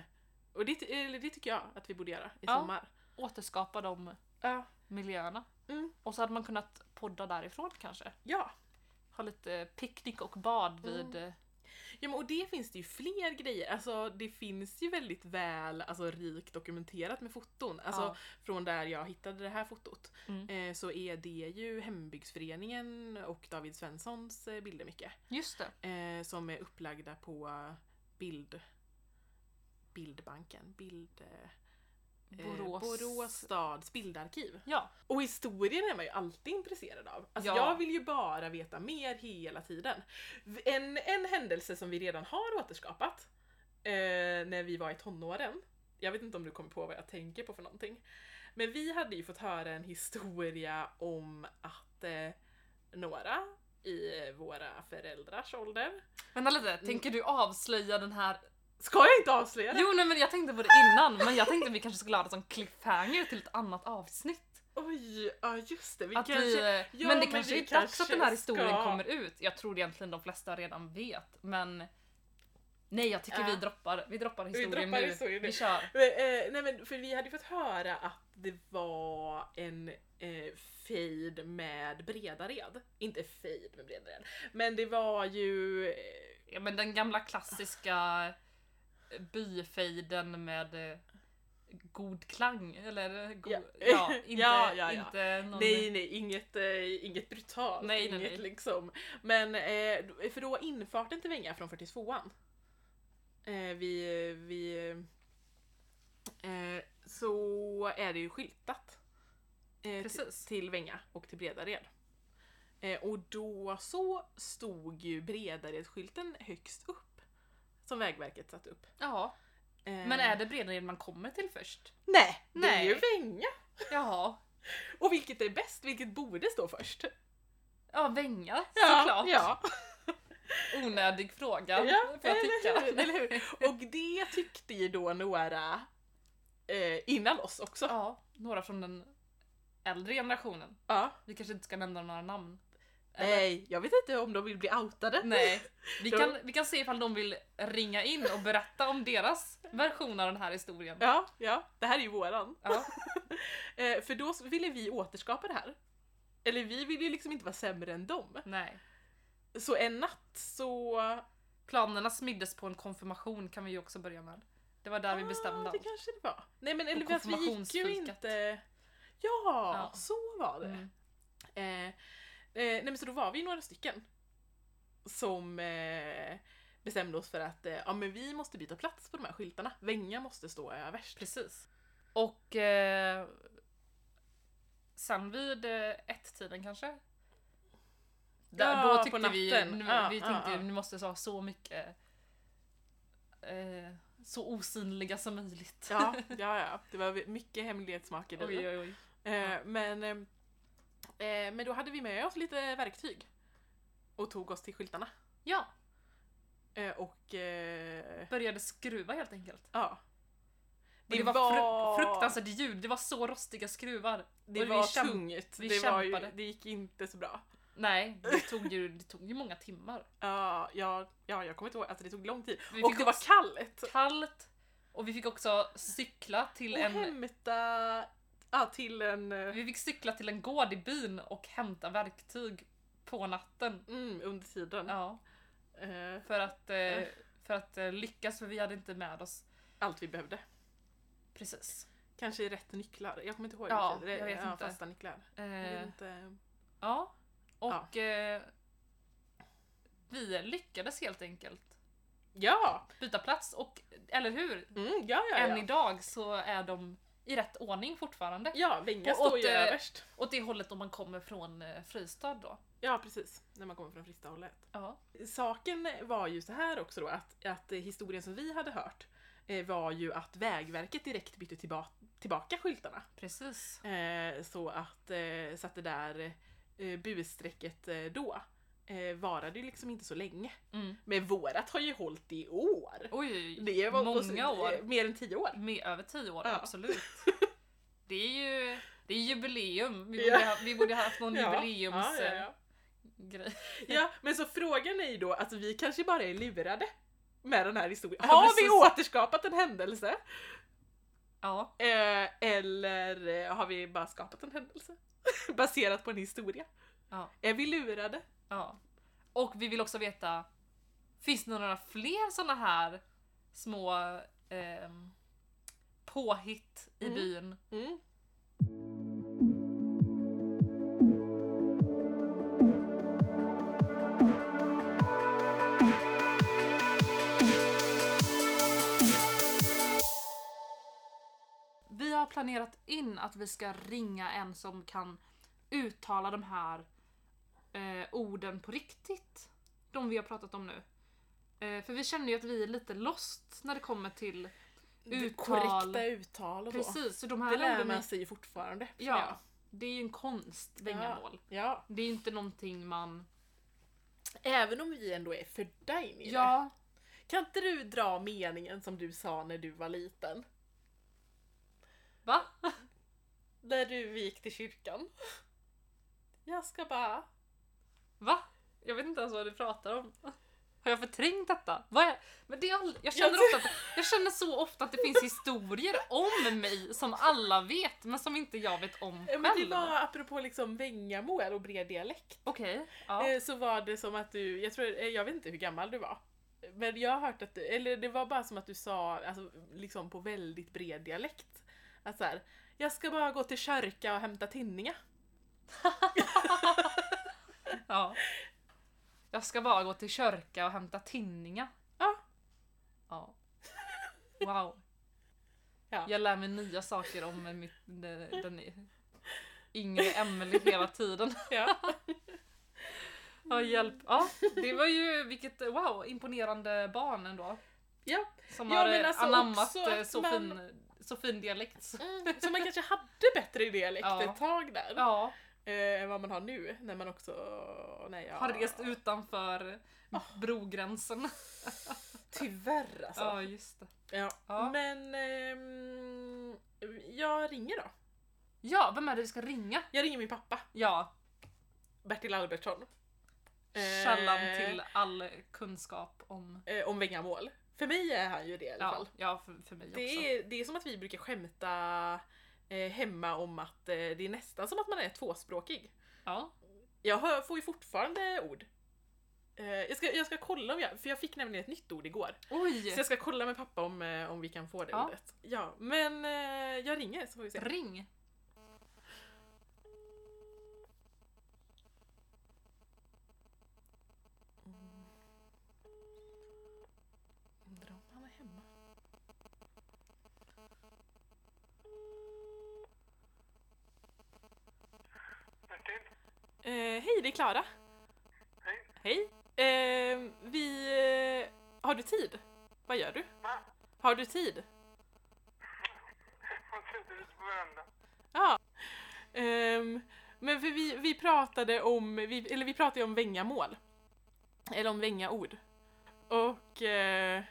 [SPEAKER 1] och det, ty- eller det tycker jag att vi borde göra i
[SPEAKER 2] Ja.
[SPEAKER 1] sommar.
[SPEAKER 2] Återskapa de
[SPEAKER 1] Ja.
[SPEAKER 2] miljöerna.
[SPEAKER 1] Mm.
[SPEAKER 2] Och så hade man kunnat podda därifrån kanske.
[SPEAKER 1] Ja.
[SPEAKER 2] Ha lite picknick och
[SPEAKER 1] Mm.
[SPEAKER 2] bad vid... eh,
[SPEAKER 1] ja men, och det finns det ju fler grejer. Alltså det finns ju väldigt väl, alltså rikt dokumenterat med foton. Alltså
[SPEAKER 2] Ja.
[SPEAKER 1] från där jag hittade det här fotot
[SPEAKER 2] Mm.
[SPEAKER 1] eh, så är det ju hembygdsföreningen och David Svenssons eh, bilder mycket.
[SPEAKER 2] Just det.
[SPEAKER 1] Eh, som är upplagda på bild... Bildbanken. Bild... eh,
[SPEAKER 2] Borås, Borås.
[SPEAKER 1] Borås stads bildarkiv.
[SPEAKER 2] Ja,
[SPEAKER 1] Och historien är man ju alltid intresserad av. Alltså
[SPEAKER 2] Ja.
[SPEAKER 1] jag vill ju bara veta mer hela tiden. En, en händelse som vi redan har återskapat eh, när vi var i tonåren. Jag vet inte om du kommer på vad jag tänker på för någonting. Men vi hade ju fått höra en historia om att eh, några i våra föräldrars ålder.
[SPEAKER 2] vänta lite. Tänker du avslöja den här?
[SPEAKER 1] Ska jag inte avslöja Mm. det?
[SPEAKER 2] Jo, nej, men jag tänkte på det innan, men jag tänkte vi kanske skulle ha det som cliffhanger till ett annat avsnitt.
[SPEAKER 1] Oj, ja just det. Vi
[SPEAKER 2] Att vi,
[SPEAKER 1] kanske...
[SPEAKER 2] eh,
[SPEAKER 1] ja,
[SPEAKER 2] men det
[SPEAKER 1] men
[SPEAKER 2] kanske
[SPEAKER 1] vi
[SPEAKER 2] är dags att den här
[SPEAKER 1] kanske
[SPEAKER 2] historien
[SPEAKER 1] ska.
[SPEAKER 2] kommer ut. Jag tror egentligen de flesta redan vet, men nej, jag tycker
[SPEAKER 1] Ja.
[SPEAKER 2] vi droppar, vi droppar historien
[SPEAKER 1] Äh. droppar
[SPEAKER 2] nu.
[SPEAKER 1] historien nu.
[SPEAKER 2] Vi kör.
[SPEAKER 1] Men, eh, nej men för vi hade ju fått höra att det var en eh, fejd med Bredared. Inte fejd med Bredared. Men det var ju... eh,
[SPEAKER 2] Ja, men den gamla klassiska byfejden med eh, god klang, eller? God,
[SPEAKER 1] Ja.
[SPEAKER 2] *laughs* ja. inte,
[SPEAKER 1] Ja, ja, ja.
[SPEAKER 2] inte någon...
[SPEAKER 1] Nej nej, inget, eh, inget brutalt.
[SPEAKER 2] Nej, nej,
[SPEAKER 1] inget
[SPEAKER 2] nej.
[SPEAKER 1] liksom. Men eh, för då infarten till Vänga från 42an. Eh, vi... vi eh, så är det ju skyltat. Eh,
[SPEAKER 2] Precis.
[SPEAKER 1] till- Till Vänga och till Bredared. Eh, och då så stod ju Bredaredsskylten högst upp. Som Vägverket satt upp.
[SPEAKER 2] Ja,
[SPEAKER 1] Eh,
[SPEAKER 2] men är det Bredared man kommer till först?
[SPEAKER 1] Nej, det är
[SPEAKER 2] Nej.
[SPEAKER 1] ju Vänga!
[SPEAKER 2] Jaha.
[SPEAKER 1] Och vilket är bäst? Vilket borde stå först?
[SPEAKER 2] Ja, Vänga
[SPEAKER 1] Ja,
[SPEAKER 2] såklart.
[SPEAKER 1] Ja.
[SPEAKER 2] Onödig fråga,
[SPEAKER 1] Ja,
[SPEAKER 2] får jag tycka.
[SPEAKER 1] eller hur, eller hur? Och det tyckte ju då några eh, innan oss också.
[SPEAKER 2] Ja, några från den äldre generationen.
[SPEAKER 1] Ja.
[SPEAKER 2] Vi kanske inte ska nämna
[SPEAKER 1] *laughs*
[SPEAKER 2] några namn. Eller- Mm.
[SPEAKER 1] Nej, jag vet inte om de vill bli outade.
[SPEAKER 2] Nej. Vi
[SPEAKER 1] Ja.
[SPEAKER 2] kan, vi kan se ifall de vill ringa in och berätta om deras version av den här historien.
[SPEAKER 1] Ja, ja, det här är ju våran.
[SPEAKER 2] Ja.
[SPEAKER 1] Eh, för då ville vi återskapa det här. Eller vi ville ju liksom inte vara sämre än dem.
[SPEAKER 2] Nej.
[SPEAKER 1] Så en natt så...
[SPEAKER 2] Planerna smiddes på en konfirmation kan vi ju också börja med. Det var där vi bestämde
[SPEAKER 1] ah, Det
[SPEAKER 2] allt.
[SPEAKER 1] kanske det var. Nej men eller att vi gick ju
[SPEAKER 2] konfirmationsfikat.
[SPEAKER 1] inte... Ja,
[SPEAKER 2] Ja.
[SPEAKER 1] så var det.
[SPEAKER 2] Mm.
[SPEAKER 1] Eh, eh, nej men så då var vi några stycken som eh, bestämde oss för att eh, ja, men vi måste byta plats på de här skyltarna. Vänga måste stå överst.
[SPEAKER 2] Precis. Och eh, sen vid eh, ett-tiden kanske? Där,
[SPEAKER 1] Ja,
[SPEAKER 2] då
[SPEAKER 1] på
[SPEAKER 2] tyckte vi,
[SPEAKER 1] natten.
[SPEAKER 2] nu,
[SPEAKER 1] Ja,
[SPEAKER 2] vi
[SPEAKER 1] ja,
[SPEAKER 2] tänkte
[SPEAKER 1] ja.
[SPEAKER 2] nu måste ha så mycket eh, så osynliga som möjligt. *laughs*
[SPEAKER 1] Ja, ja, ja. Det var mycket hemlighetsmakeri.
[SPEAKER 2] oj, oj, oj.
[SPEAKER 1] Eh, men, eh, eh, men då hade vi med oss lite verktyg och tog oss till skyltarna.
[SPEAKER 2] Ja,
[SPEAKER 1] Eh, och eh,
[SPEAKER 2] började skruva helt enkelt.
[SPEAKER 1] ja.
[SPEAKER 2] Och det, var, fru- fruktansvärt ljud, det var så rostiga skruvar.
[SPEAKER 1] Det
[SPEAKER 2] och vi
[SPEAKER 1] var
[SPEAKER 2] kämp-
[SPEAKER 1] tungt.
[SPEAKER 2] vi
[SPEAKER 1] det, var ju,
[SPEAKER 2] kämpade.
[SPEAKER 1] det gick inte så bra.
[SPEAKER 2] Nej,
[SPEAKER 1] *laughs*
[SPEAKER 2] det tog, ju, det tog ju många timmar.
[SPEAKER 1] Ja, ja, ja, jag kommer inte ihåg. Alltså det tog lång tid.
[SPEAKER 2] Vi
[SPEAKER 1] och
[SPEAKER 2] fick
[SPEAKER 1] det var
[SPEAKER 2] också-
[SPEAKER 1] kallt.
[SPEAKER 2] Kallt och vi fick också cykla till
[SPEAKER 1] Och
[SPEAKER 2] en...
[SPEAKER 1] hämta... Ja, till en... eh,
[SPEAKER 2] Vi fick cykla till en gård i byn och hämta verktyg på natten.
[SPEAKER 1] Mm, under tiden.
[SPEAKER 2] Ja,
[SPEAKER 1] Eh,
[SPEAKER 2] för att, eh,
[SPEAKER 1] Mm.
[SPEAKER 2] för att eh, lyckas, för vi hade inte med oss.
[SPEAKER 1] allt vi behövde.
[SPEAKER 2] Precis.
[SPEAKER 1] Kanske rätt nycklar. Jag kommer inte ihåg.
[SPEAKER 2] Ja,
[SPEAKER 1] det.
[SPEAKER 2] jag vet
[SPEAKER 1] ja,
[SPEAKER 2] inte.
[SPEAKER 1] Fasta nycklar. Jag vet
[SPEAKER 2] Eh,
[SPEAKER 1] inte.
[SPEAKER 2] ja, och eh, vi lyckades helt enkelt
[SPEAKER 1] Ja!
[SPEAKER 2] byta plats och, eller hur?
[SPEAKER 1] Mm, ja, ja,
[SPEAKER 2] Än
[SPEAKER 1] ja.
[SPEAKER 2] idag så är de i rätt ordning fortfarande.
[SPEAKER 1] Ja, Venga
[SPEAKER 2] Och
[SPEAKER 1] står
[SPEAKER 2] åt,
[SPEAKER 1] ju
[SPEAKER 2] eh,
[SPEAKER 1] överst.
[SPEAKER 2] Åt det hållet om man kommer från eh, Fristad då.
[SPEAKER 1] Ja, precis. När man kommer från Fristahållet.
[SPEAKER 2] Ja.
[SPEAKER 1] Saken var ju så här också då att, att historien som vi hade hört eh, var ju att Vägverket direkt bytte tillba- tillbaka skyltarna.
[SPEAKER 2] Precis.
[SPEAKER 1] Eh, så att, eh, så att det där eh, busstrecket eh, då eh, varade ju liksom inte så länge.
[SPEAKER 2] Mm.
[SPEAKER 1] Men vårat har ju hållit i år!
[SPEAKER 2] Oj, oj, oj.
[SPEAKER 1] Det var
[SPEAKER 2] många
[SPEAKER 1] eh,
[SPEAKER 2] år.
[SPEAKER 1] Mer än tio år.
[SPEAKER 2] Med över tio år,
[SPEAKER 1] Ja. *laughs*
[SPEAKER 2] absolut. Det är ju det är jubileum. Vi
[SPEAKER 1] Ja.
[SPEAKER 2] borde, ha, vi borde haft
[SPEAKER 1] *laughs*
[SPEAKER 2] någon eh,
[SPEAKER 1] ja, ja,
[SPEAKER 2] jubileumsgrej.
[SPEAKER 1] ja. ja, men så frågan är ju då, alltså vi kanske bara är lurade med den här historien.
[SPEAKER 2] Ja,
[SPEAKER 1] Har vi
[SPEAKER 2] precis.
[SPEAKER 1] återskapat en händelse?
[SPEAKER 2] Ja.
[SPEAKER 1] Eh, eller eh, har vi bara skapat en händelse? *laughs* Baserat på en historia?
[SPEAKER 2] Ja.
[SPEAKER 1] Är vi lurade?
[SPEAKER 2] ja. Och vi vill också veta, finns det några fler såna här små ehm, påhitt i
[SPEAKER 1] Mm.
[SPEAKER 2] byn?
[SPEAKER 1] Mm.
[SPEAKER 2] Vi har planerat in att vi ska ringa en som kan uttala de här eh, orden på riktigt. De vi har pratat om nu. Eh, för vi känner ju att vi är lite lost när det kommer till
[SPEAKER 1] Det
[SPEAKER 2] Uttal.
[SPEAKER 1] Korrekta uttal och så.
[SPEAKER 2] Precis, så de här
[SPEAKER 1] Det lär
[SPEAKER 2] orden är-
[SPEAKER 1] man sig ju fortfarande. känner
[SPEAKER 2] Ja, det är ju en konst,
[SPEAKER 1] jag.
[SPEAKER 2] Bengamål.
[SPEAKER 1] ja.
[SPEAKER 2] Det är ju inte någonting man...
[SPEAKER 1] Även om vi ändå är födda in i det.
[SPEAKER 2] Ja,
[SPEAKER 1] Kan inte du dra meningen som du sa när du var liten?
[SPEAKER 2] va?
[SPEAKER 1] När du gick till kyrkan? Jag ska bara...
[SPEAKER 2] Va? Jag vet inte ens vad du pratar om. Har jag förträngt detta? Vad är... Men det är all... jag, känner ofta att... jag känner så ofta att det finns historier om mig som alla vet, men som inte jag vet om
[SPEAKER 1] Ja,
[SPEAKER 2] själv.
[SPEAKER 1] Men det var apropå liksom Vängamål och bred dialekt.
[SPEAKER 2] Okej, ja.
[SPEAKER 1] Eh, Så var det som att du, jag tror, eh, jag vet inte hur gammal du var. Men jag har hört att du, eller det var bara som att du sa, alltså liksom på väldigt bred dialekt. Att så här, jag ska bara gå till kyrka och hämta tinningar.
[SPEAKER 2] ja. Jag ska bara gå till kyrka och hämta tinningar.
[SPEAKER 1] Ja.
[SPEAKER 2] Ja. Wow.
[SPEAKER 1] Ja.
[SPEAKER 2] Jag lär mig nya saker om mitt, den, den yngre Emelie hela tiden.
[SPEAKER 1] *laughs* Ja.
[SPEAKER 2] Ja, hjälp. Ja, det var ju vilket wow, imponerande barn ändå.
[SPEAKER 1] ja.
[SPEAKER 2] Som
[SPEAKER 1] Ja,
[SPEAKER 2] har
[SPEAKER 1] men
[SPEAKER 2] eh,
[SPEAKER 1] alltså
[SPEAKER 2] anammat
[SPEAKER 1] också
[SPEAKER 2] eh,
[SPEAKER 1] att
[SPEAKER 2] så,
[SPEAKER 1] man-
[SPEAKER 2] fin, så fin dialekt.
[SPEAKER 1] Mm. Så man kanske hade bättre dialekt
[SPEAKER 2] Ja.
[SPEAKER 1] ett tag där.
[SPEAKER 2] *laughs* Ja,
[SPEAKER 1] Eh, än vad man har nu när man också nej, ja.
[SPEAKER 2] har rest utanför
[SPEAKER 1] Ah.
[SPEAKER 2] brogränsen.
[SPEAKER 1] Alltså. Tyvärr alltså.
[SPEAKER 2] Ja, just det.
[SPEAKER 1] Ja.
[SPEAKER 2] Ja.
[SPEAKER 1] Men ehm, jag ringer då.
[SPEAKER 2] Ja, vem är det vi ska ringa?
[SPEAKER 1] Jag ringer min pappa,
[SPEAKER 2] Ja,
[SPEAKER 1] Bertil Albertsson. Eh,
[SPEAKER 2] källan till all kunskap om...
[SPEAKER 1] eh, om Vängamål. För mig är han ju det i alla
[SPEAKER 2] Ja,
[SPEAKER 1] fall.
[SPEAKER 2] ja för, för mig också.
[SPEAKER 1] Det är, det är som att vi brukar skämta eh, hemma om att eh, det är nästan som att man är tvåspråkig.
[SPEAKER 2] Ja.
[SPEAKER 1] Jag hör, får ju fortfarande ord. Eh, jag, ska, jag ska kolla om jag, för jag fick nämligen ett nytt ord igår. Så
[SPEAKER 2] Oj!
[SPEAKER 1] jag ska kolla med pappa om, eh, om vi kan få det
[SPEAKER 2] Ja.
[SPEAKER 1] ordet. Ja, men eh, jag ringer så får vi se.
[SPEAKER 2] Ring!
[SPEAKER 1] Undrar om han är hemma.
[SPEAKER 4] Martin?
[SPEAKER 1] Eh, hej, det är Klara.
[SPEAKER 4] Hej.
[SPEAKER 1] Hej. Eh, vi... Eh, har du tid? Vad gör du?
[SPEAKER 4] Va?
[SPEAKER 1] Har du tid?
[SPEAKER 4] Hon sitter ute på verandan.
[SPEAKER 1] Ehm, men för vi, vi pratade om, vi, eller vi pratade ju om vängamål. Eller om vängaord. Och eh,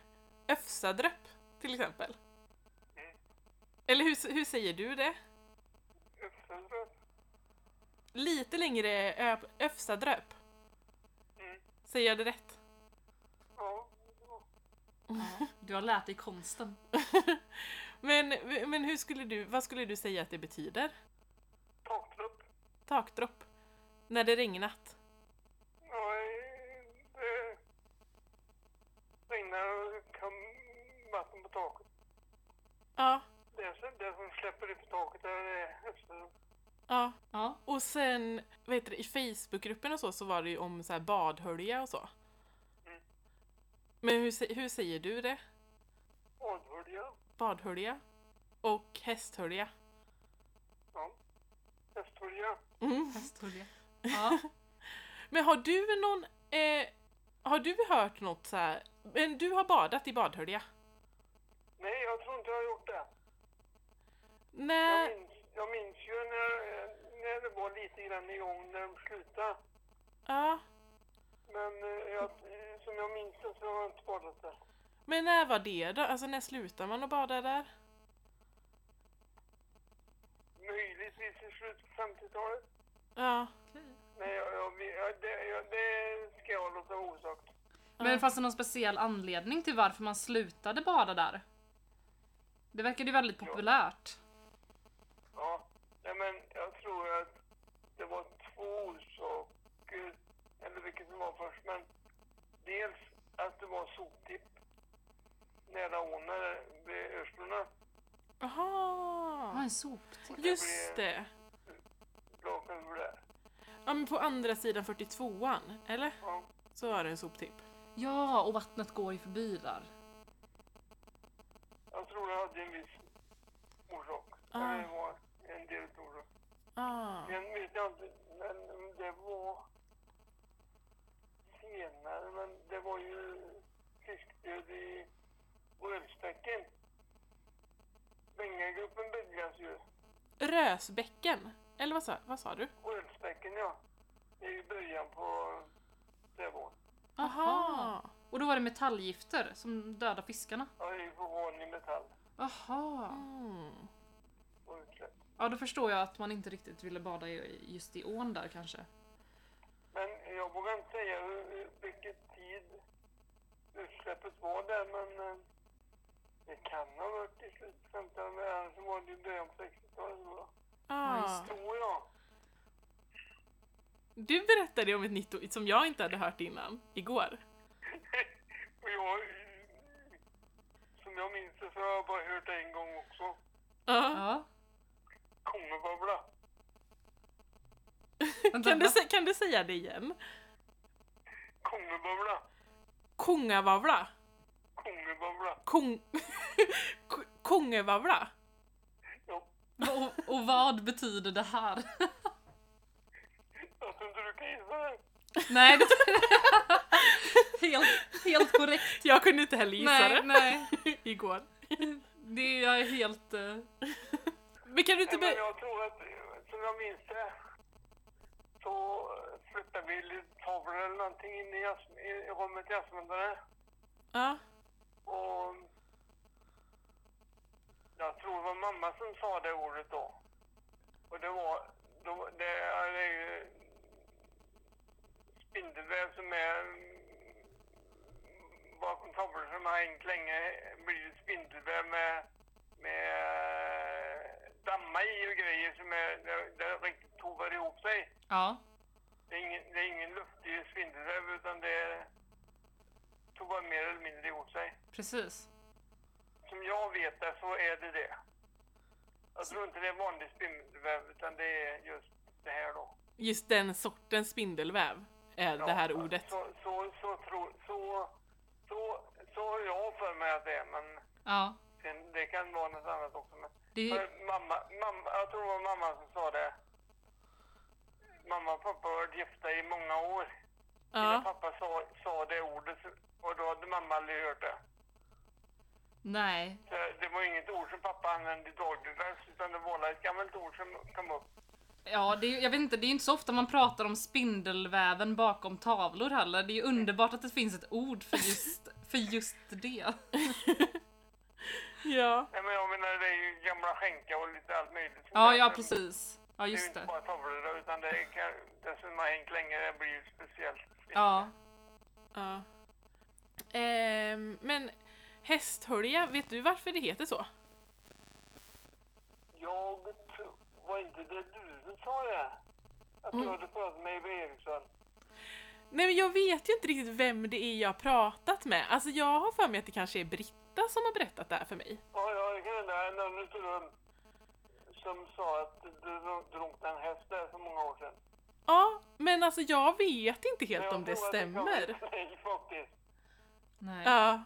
[SPEAKER 1] öfsadröpp till exempel.
[SPEAKER 4] Mm.
[SPEAKER 1] Eller hur, hur säger du det?
[SPEAKER 4] Uppsala.
[SPEAKER 1] Lite längre ö- öfsadröpp.
[SPEAKER 4] Mm.
[SPEAKER 1] Säger jag det rätt? *laughs*
[SPEAKER 4] Ja.
[SPEAKER 2] Ja, du har lärt dig konsten.
[SPEAKER 1] men, men hur skulle du, vad skulle du säga att det betyder?
[SPEAKER 4] Taktropp.
[SPEAKER 1] Takdropp? När det regnat?
[SPEAKER 4] Ja, eh, det regnar och kan vatten på taket.
[SPEAKER 1] Ja,
[SPEAKER 4] Det, som- det som släpper ut på taket där är Uppsala.
[SPEAKER 1] ja.
[SPEAKER 2] Ja.
[SPEAKER 1] Och sen, vad heter det, i Facebookgruppen och så, så var det ju om så här badhölja och så.
[SPEAKER 4] Mm.
[SPEAKER 1] Men hur, sä- hur säger du det?
[SPEAKER 4] Adhölja.
[SPEAKER 1] Badhölja? Och hästhölja?
[SPEAKER 4] Ja. Hästhölja.
[SPEAKER 1] Mm. *laughs*
[SPEAKER 2] Historia. Ja.
[SPEAKER 1] Men har du någon, eh, har du hört något så här, men du har badat i badhölja?
[SPEAKER 4] Nej, jag tror inte jag har gjort det. Jag
[SPEAKER 1] Nej,
[SPEAKER 4] minns, jag minns ju när, eh, när det var lite grann igång när de slutade.
[SPEAKER 1] ja.
[SPEAKER 4] Men eh, jag, eh, som jag minns det så har jag inte badat där.
[SPEAKER 1] Men när var det då? Alltså när slutar man att bada där?
[SPEAKER 4] Möjligtvis i slutet på 50-talet.
[SPEAKER 1] Ja.
[SPEAKER 4] Nej, jag, jag, jag, det, jag, det ska jag låta vara osagt.
[SPEAKER 2] Men fanns det någon speciell anledning till varför man slutade bada där? Det verkade ju väldigt populärt.
[SPEAKER 4] Ja, nej, men jag tror att det var två orsaker, eller vilket som var först, men dels att det var soptipp nära ån, där vid Örslorna,
[SPEAKER 2] Ja,
[SPEAKER 1] Jaha.
[SPEAKER 2] Ah, en soptipp.
[SPEAKER 1] Just det.
[SPEAKER 4] lakan över där.
[SPEAKER 1] Ja men på andra sidan 42an, eller?
[SPEAKER 4] Ja,
[SPEAKER 1] Så var det en soptipp.
[SPEAKER 2] Ja, och vattnet går ju förbi där.
[SPEAKER 4] jag tror det hade en viss orsak.
[SPEAKER 1] Ah,
[SPEAKER 4] Det var en del ord.
[SPEAKER 1] ah,
[SPEAKER 4] Sen vet jag inte, men om det var senare, men det var ju fiskdöd i Rövstacken. Bengagruppen bildades ju.
[SPEAKER 1] Rösbäcken? Eller vad sa, vad sa du?
[SPEAKER 4] Rövstacken, ja. Det är ju början på Sävån.
[SPEAKER 1] Aha.
[SPEAKER 2] Och då var det metallgifter som dödar fiskarna.
[SPEAKER 4] Ja, det är ju förvånlig metall
[SPEAKER 2] Aha.
[SPEAKER 1] Mm.
[SPEAKER 4] och utsläpp.
[SPEAKER 2] Ja, då förstår jag att man inte riktigt ville bada i, just i ån där kanske.
[SPEAKER 4] Men jag vågar inte säga hur, hur- vilket tid utsläppet var där, men eh, det kan ha varit i slutet av 50-talet, annars var det ju början på 60-talet. tror jag.
[SPEAKER 1] Ah.
[SPEAKER 4] Tror jag.
[SPEAKER 1] Du berättade ju om ett nytt ord som jag inte hade hört innan, igår.
[SPEAKER 4] Och jag, som jag minns det så har jag bara hört det en gång också.
[SPEAKER 1] Ja.
[SPEAKER 2] Ja.
[SPEAKER 4] Kongebabbla.
[SPEAKER 2] Vänta,
[SPEAKER 1] Kan, du,
[SPEAKER 2] va?
[SPEAKER 1] sä- kan du säga det igen?
[SPEAKER 4] Kongebabbla.
[SPEAKER 1] Kungavavla?
[SPEAKER 4] Kongebabbla.
[SPEAKER 1] Kung... *laughs* K- Kungavavla?
[SPEAKER 4] Jag,
[SPEAKER 2] och, och vad betyder det här? *laughs*
[SPEAKER 4] jag tror inte du kan gissa det.
[SPEAKER 2] Nej, det... *laughs* helt, helt korrekt.
[SPEAKER 1] Jag kunde inte heller gissa
[SPEAKER 2] Nej,
[SPEAKER 1] det *laughs*
[SPEAKER 2] nej.
[SPEAKER 1] igår.
[SPEAKER 2] Det jag är helt... eh,
[SPEAKER 1] Men kan du inte...
[SPEAKER 4] Nej, men
[SPEAKER 1] Be-
[SPEAKER 4] jag tror att, eh, som jag minns det, så eh, flyttade vi lite tavlor eller någonting in i, jas- i i rummet i Asmundare.
[SPEAKER 1] ja.
[SPEAKER 4] Och jag tror det var mamma som sa det ordet då. Och det var, då, det är det är ju spindelväv som är mm, bakom tavlor som har hängt länge blir det spindelväv med, med dammar i och grejer som är, där, där riktigt tovar ihop sig.
[SPEAKER 2] Ja.
[SPEAKER 4] Det är ingen, det är ingen luftig spindelväv utan det är tovar mer eller mindre ihop sig
[SPEAKER 2] Precis.
[SPEAKER 4] som jag vet det så är det det. Jag tror inte det är vanlig spindelväv utan det är just det här då.
[SPEAKER 1] Just den sortens spindelväv är Äh, det här ordet. *laughs*
[SPEAKER 4] Så, så, så, tror- så, så, så har jag för mig att det är men
[SPEAKER 2] Ja.
[SPEAKER 4] sen, det kan vara något annat också. Men,
[SPEAKER 2] Det,
[SPEAKER 4] men mamma, mamma, jag tror det var mamma som sa det. Mamma och pappa har varit gifta i många år. Innan
[SPEAKER 1] Ja.
[SPEAKER 4] pappa sa, sa det ordet så- och då hade mamma aldrig hört det.
[SPEAKER 2] nej.
[SPEAKER 4] Så det var inget ord som pappa använde dagligdags utan det var ett gammalt ord som kom upp.
[SPEAKER 2] Ja, det är, ju- jag vet inte, det är ju inte så ofta man pratar om spindelväven bakom tavlor heller. Det är ju underbart att det finns ett ord för just, för just det.
[SPEAKER 1] ja.
[SPEAKER 4] Nej men jag menar det är ju gamla skänka och lite allt möjligt.
[SPEAKER 2] Ja, ja precis. Ja,
[SPEAKER 4] Det är ju
[SPEAKER 2] just
[SPEAKER 4] inte
[SPEAKER 2] det.
[SPEAKER 4] bara tavlor utan det, är, kan- det som har hängt länge det blir ju speciellt.
[SPEAKER 2] Ja.
[SPEAKER 1] ja. Ehm, men hästhölja, vet du varför det heter så?
[SPEAKER 4] Jag tror, var inte det du som sa det? Att
[SPEAKER 2] Mm.
[SPEAKER 4] du hade pratat med Eva Eriksson.
[SPEAKER 1] Nej men jag vet ju inte riktigt vem det är jag har pratat med. Alltså jag har för mig att det kanske är Britta som har berättat det här för mig.
[SPEAKER 4] Ja, ja det kan hända. En annan utav som sa att du drunknade en häst där för många år sedan.
[SPEAKER 1] Ja, men alltså jag vet inte
[SPEAKER 4] Men
[SPEAKER 1] helt
[SPEAKER 4] jag
[SPEAKER 1] om det
[SPEAKER 4] tror att det kom
[SPEAKER 1] stämmer.
[SPEAKER 4] *laughs* från dig faktiskt.
[SPEAKER 2] Nej.
[SPEAKER 1] Ja.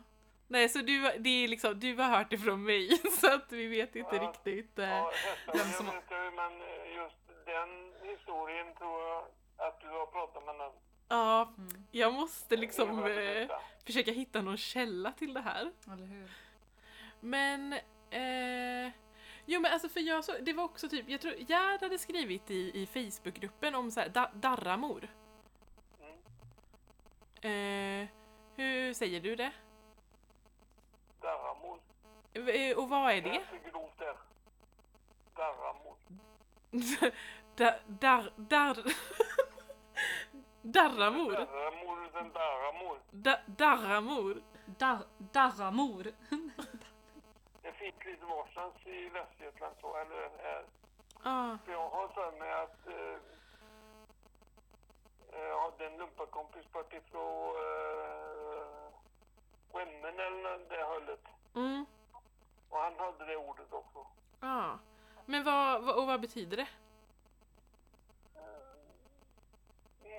[SPEAKER 1] Nej, så du, det är liksom, du har hört det från mig, *laughs* så att vi vet inte
[SPEAKER 4] Ja.
[SPEAKER 1] riktigt. eh.
[SPEAKER 4] Ja, hästar,
[SPEAKER 2] Vem som-
[SPEAKER 4] jag vet inte, men eh, just den historien tror jag att du har pratat med någon.
[SPEAKER 1] Ja,
[SPEAKER 2] Mm,
[SPEAKER 1] jag måste liksom
[SPEAKER 4] Eva
[SPEAKER 1] eh,
[SPEAKER 4] Eriksson.
[SPEAKER 1] försöka hitta någon källa till det här.
[SPEAKER 2] eller hur.
[SPEAKER 1] Men... Eh, jo men alltså för jag så, det var också typ, jag tror Gerd hade skrivit i, i Facebookgruppen om så här, da, darramor.
[SPEAKER 4] Mm.
[SPEAKER 1] Eh, hur säger du det?
[SPEAKER 4] Darramot.
[SPEAKER 1] Eh, Och vad är det? *laughs*
[SPEAKER 4] är så grovt där. Darramot.
[SPEAKER 1] dar, dar, dar, *laughs* darramor?
[SPEAKER 4] Darramor utan darramor.
[SPEAKER 1] Da, darramor?
[SPEAKER 2] Dar, darramor. *laughs*
[SPEAKER 4] Det finns lite varstans i Västergötland så, eller här.
[SPEAKER 1] Ah,
[SPEAKER 4] För jag har för mig att eh, eh, jag hade en lumparkompis vart ifrån eh, Skemmen eller nå- det hållet.
[SPEAKER 1] mm,
[SPEAKER 4] Och han hade det ordet också.
[SPEAKER 1] ah. Men vad, vad, och vad betyder det?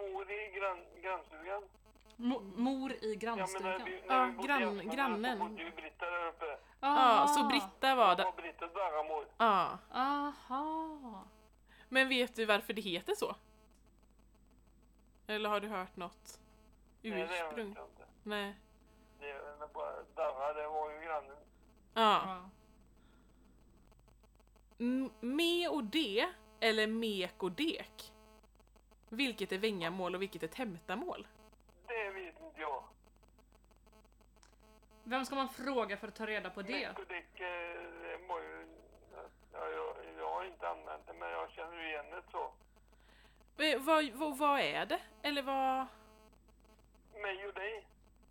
[SPEAKER 4] Mor i grann, grannstugan.
[SPEAKER 2] Mo- Mor i
[SPEAKER 4] Ja, men när
[SPEAKER 2] grannstugan.
[SPEAKER 4] vi, när
[SPEAKER 1] Ja,
[SPEAKER 4] vi bodde i
[SPEAKER 1] grann-
[SPEAKER 4] Aspen,
[SPEAKER 1] grannen.
[SPEAKER 4] Så bodde ju Britta där uppe.
[SPEAKER 1] Ja,
[SPEAKER 2] Ah.
[SPEAKER 1] så Britta var
[SPEAKER 4] Det
[SPEAKER 1] där.
[SPEAKER 4] var Brittas värramor.
[SPEAKER 1] Ja.
[SPEAKER 2] Aha.
[SPEAKER 1] Men vet du varför det heter så? Eller har du hört något
[SPEAKER 4] Nej, det vet jag
[SPEAKER 1] ursprung?
[SPEAKER 4] inte.
[SPEAKER 1] Nej.
[SPEAKER 4] Det är bara darra, det var ju grannen.
[SPEAKER 1] Ja.
[SPEAKER 2] Ja.
[SPEAKER 1] M- Me och de, eller mek och dek? Vilket är vängamål och vilket är tämtamål?
[SPEAKER 4] Det vet inte jag.
[SPEAKER 2] Vem ska man fråga för att ta reda på det?
[SPEAKER 4] Mikodäck, eh, det var ju... Ja, jag, jag har inte använt det, men jag känner ju igen det så.
[SPEAKER 1] Eh, Vad, vad, vad är det? Eller vad...
[SPEAKER 4] Mig och dig.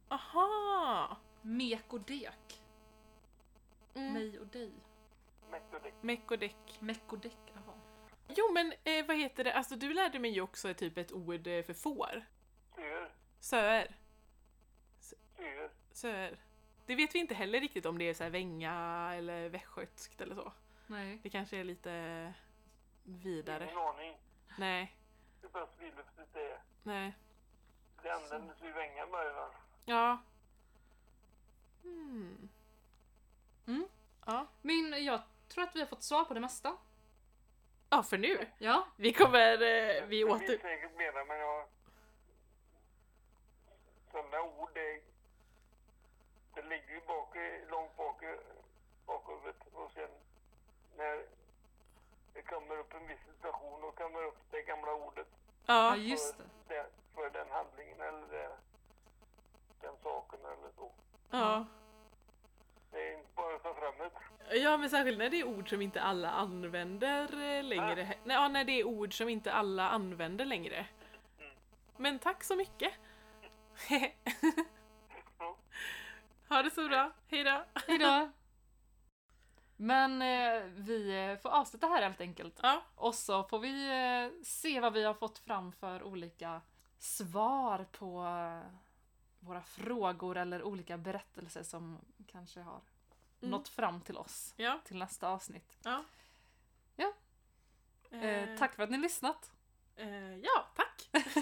[SPEAKER 1] Aha!
[SPEAKER 2] Mek och dek.
[SPEAKER 1] Mm.
[SPEAKER 2] Mig och dig.
[SPEAKER 4] Mikodäck.
[SPEAKER 1] Meck och däck.
[SPEAKER 2] Meck och däck. Jaha.
[SPEAKER 1] Jo men eh, vad heter det, alltså du lärde mig ju också typ ett ord eh, för får.
[SPEAKER 4] Syr.
[SPEAKER 1] Söer.
[SPEAKER 4] Syr.
[SPEAKER 1] Söer. Det vet vi inte heller riktigt om det är så här vänga eller västgötskt eller så.
[SPEAKER 2] Nej.
[SPEAKER 1] Det kanske är lite vidare.
[SPEAKER 4] Ingen aning.
[SPEAKER 1] Nej,
[SPEAKER 4] Det är bäst vildsvinet det är.
[SPEAKER 1] nej.
[SPEAKER 4] Det användes vid Vängan början.
[SPEAKER 1] Ja. Hmm.
[SPEAKER 2] Mm.
[SPEAKER 1] Ja.
[SPEAKER 2] Men jag tror att vi har fått svar på det mesta.
[SPEAKER 1] ja, för nu.
[SPEAKER 2] Ja.
[SPEAKER 1] Vi kommer, eh, vi
[SPEAKER 4] Det finns
[SPEAKER 1] åter...
[SPEAKER 4] säkert mera, men jag... Sådana ord, det... Det ligger ju bak, i- långt bak i bakhuvudet. Och sen när det kommer upp en viss situation, då kommer upp det gamla ordet
[SPEAKER 2] Ja,
[SPEAKER 1] Ja,
[SPEAKER 2] just det.
[SPEAKER 4] det, för den handlingen eller det, den saken eller så.
[SPEAKER 1] ja.
[SPEAKER 4] Det är inte bara att ta fram det.
[SPEAKER 1] Ja, men särskilt när det är ord som inte alla använder eh, längre. Nej, ja, när det är ord som inte alla använder längre. Mm. Men tack så mycket.
[SPEAKER 4] Ja.
[SPEAKER 1] *laughs* ha det så bra. Hejdå.
[SPEAKER 2] Hejdå! Men eh, vi eh, får avsluta här helt enkelt.
[SPEAKER 1] Ja.
[SPEAKER 2] Och så får vi eh, se vad vi har fått fram för olika svar på eh, våra frågor eller olika berättelser som kanske har
[SPEAKER 1] Mm.
[SPEAKER 2] nått fram till oss
[SPEAKER 1] Ja.
[SPEAKER 2] till nästa avsnitt.
[SPEAKER 1] Eh,
[SPEAKER 2] Eh, tack för att ni har lyssnat.
[SPEAKER 1] Eh, ja, tack.
[SPEAKER 2] Eh,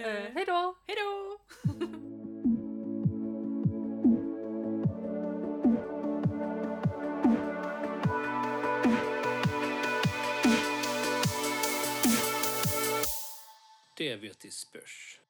[SPEAKER 1] eh,
[SPEAKER 2] hejdå!
[SPEAKER 1] hejdå.
[SPEAKER 3] Det vet i spörs.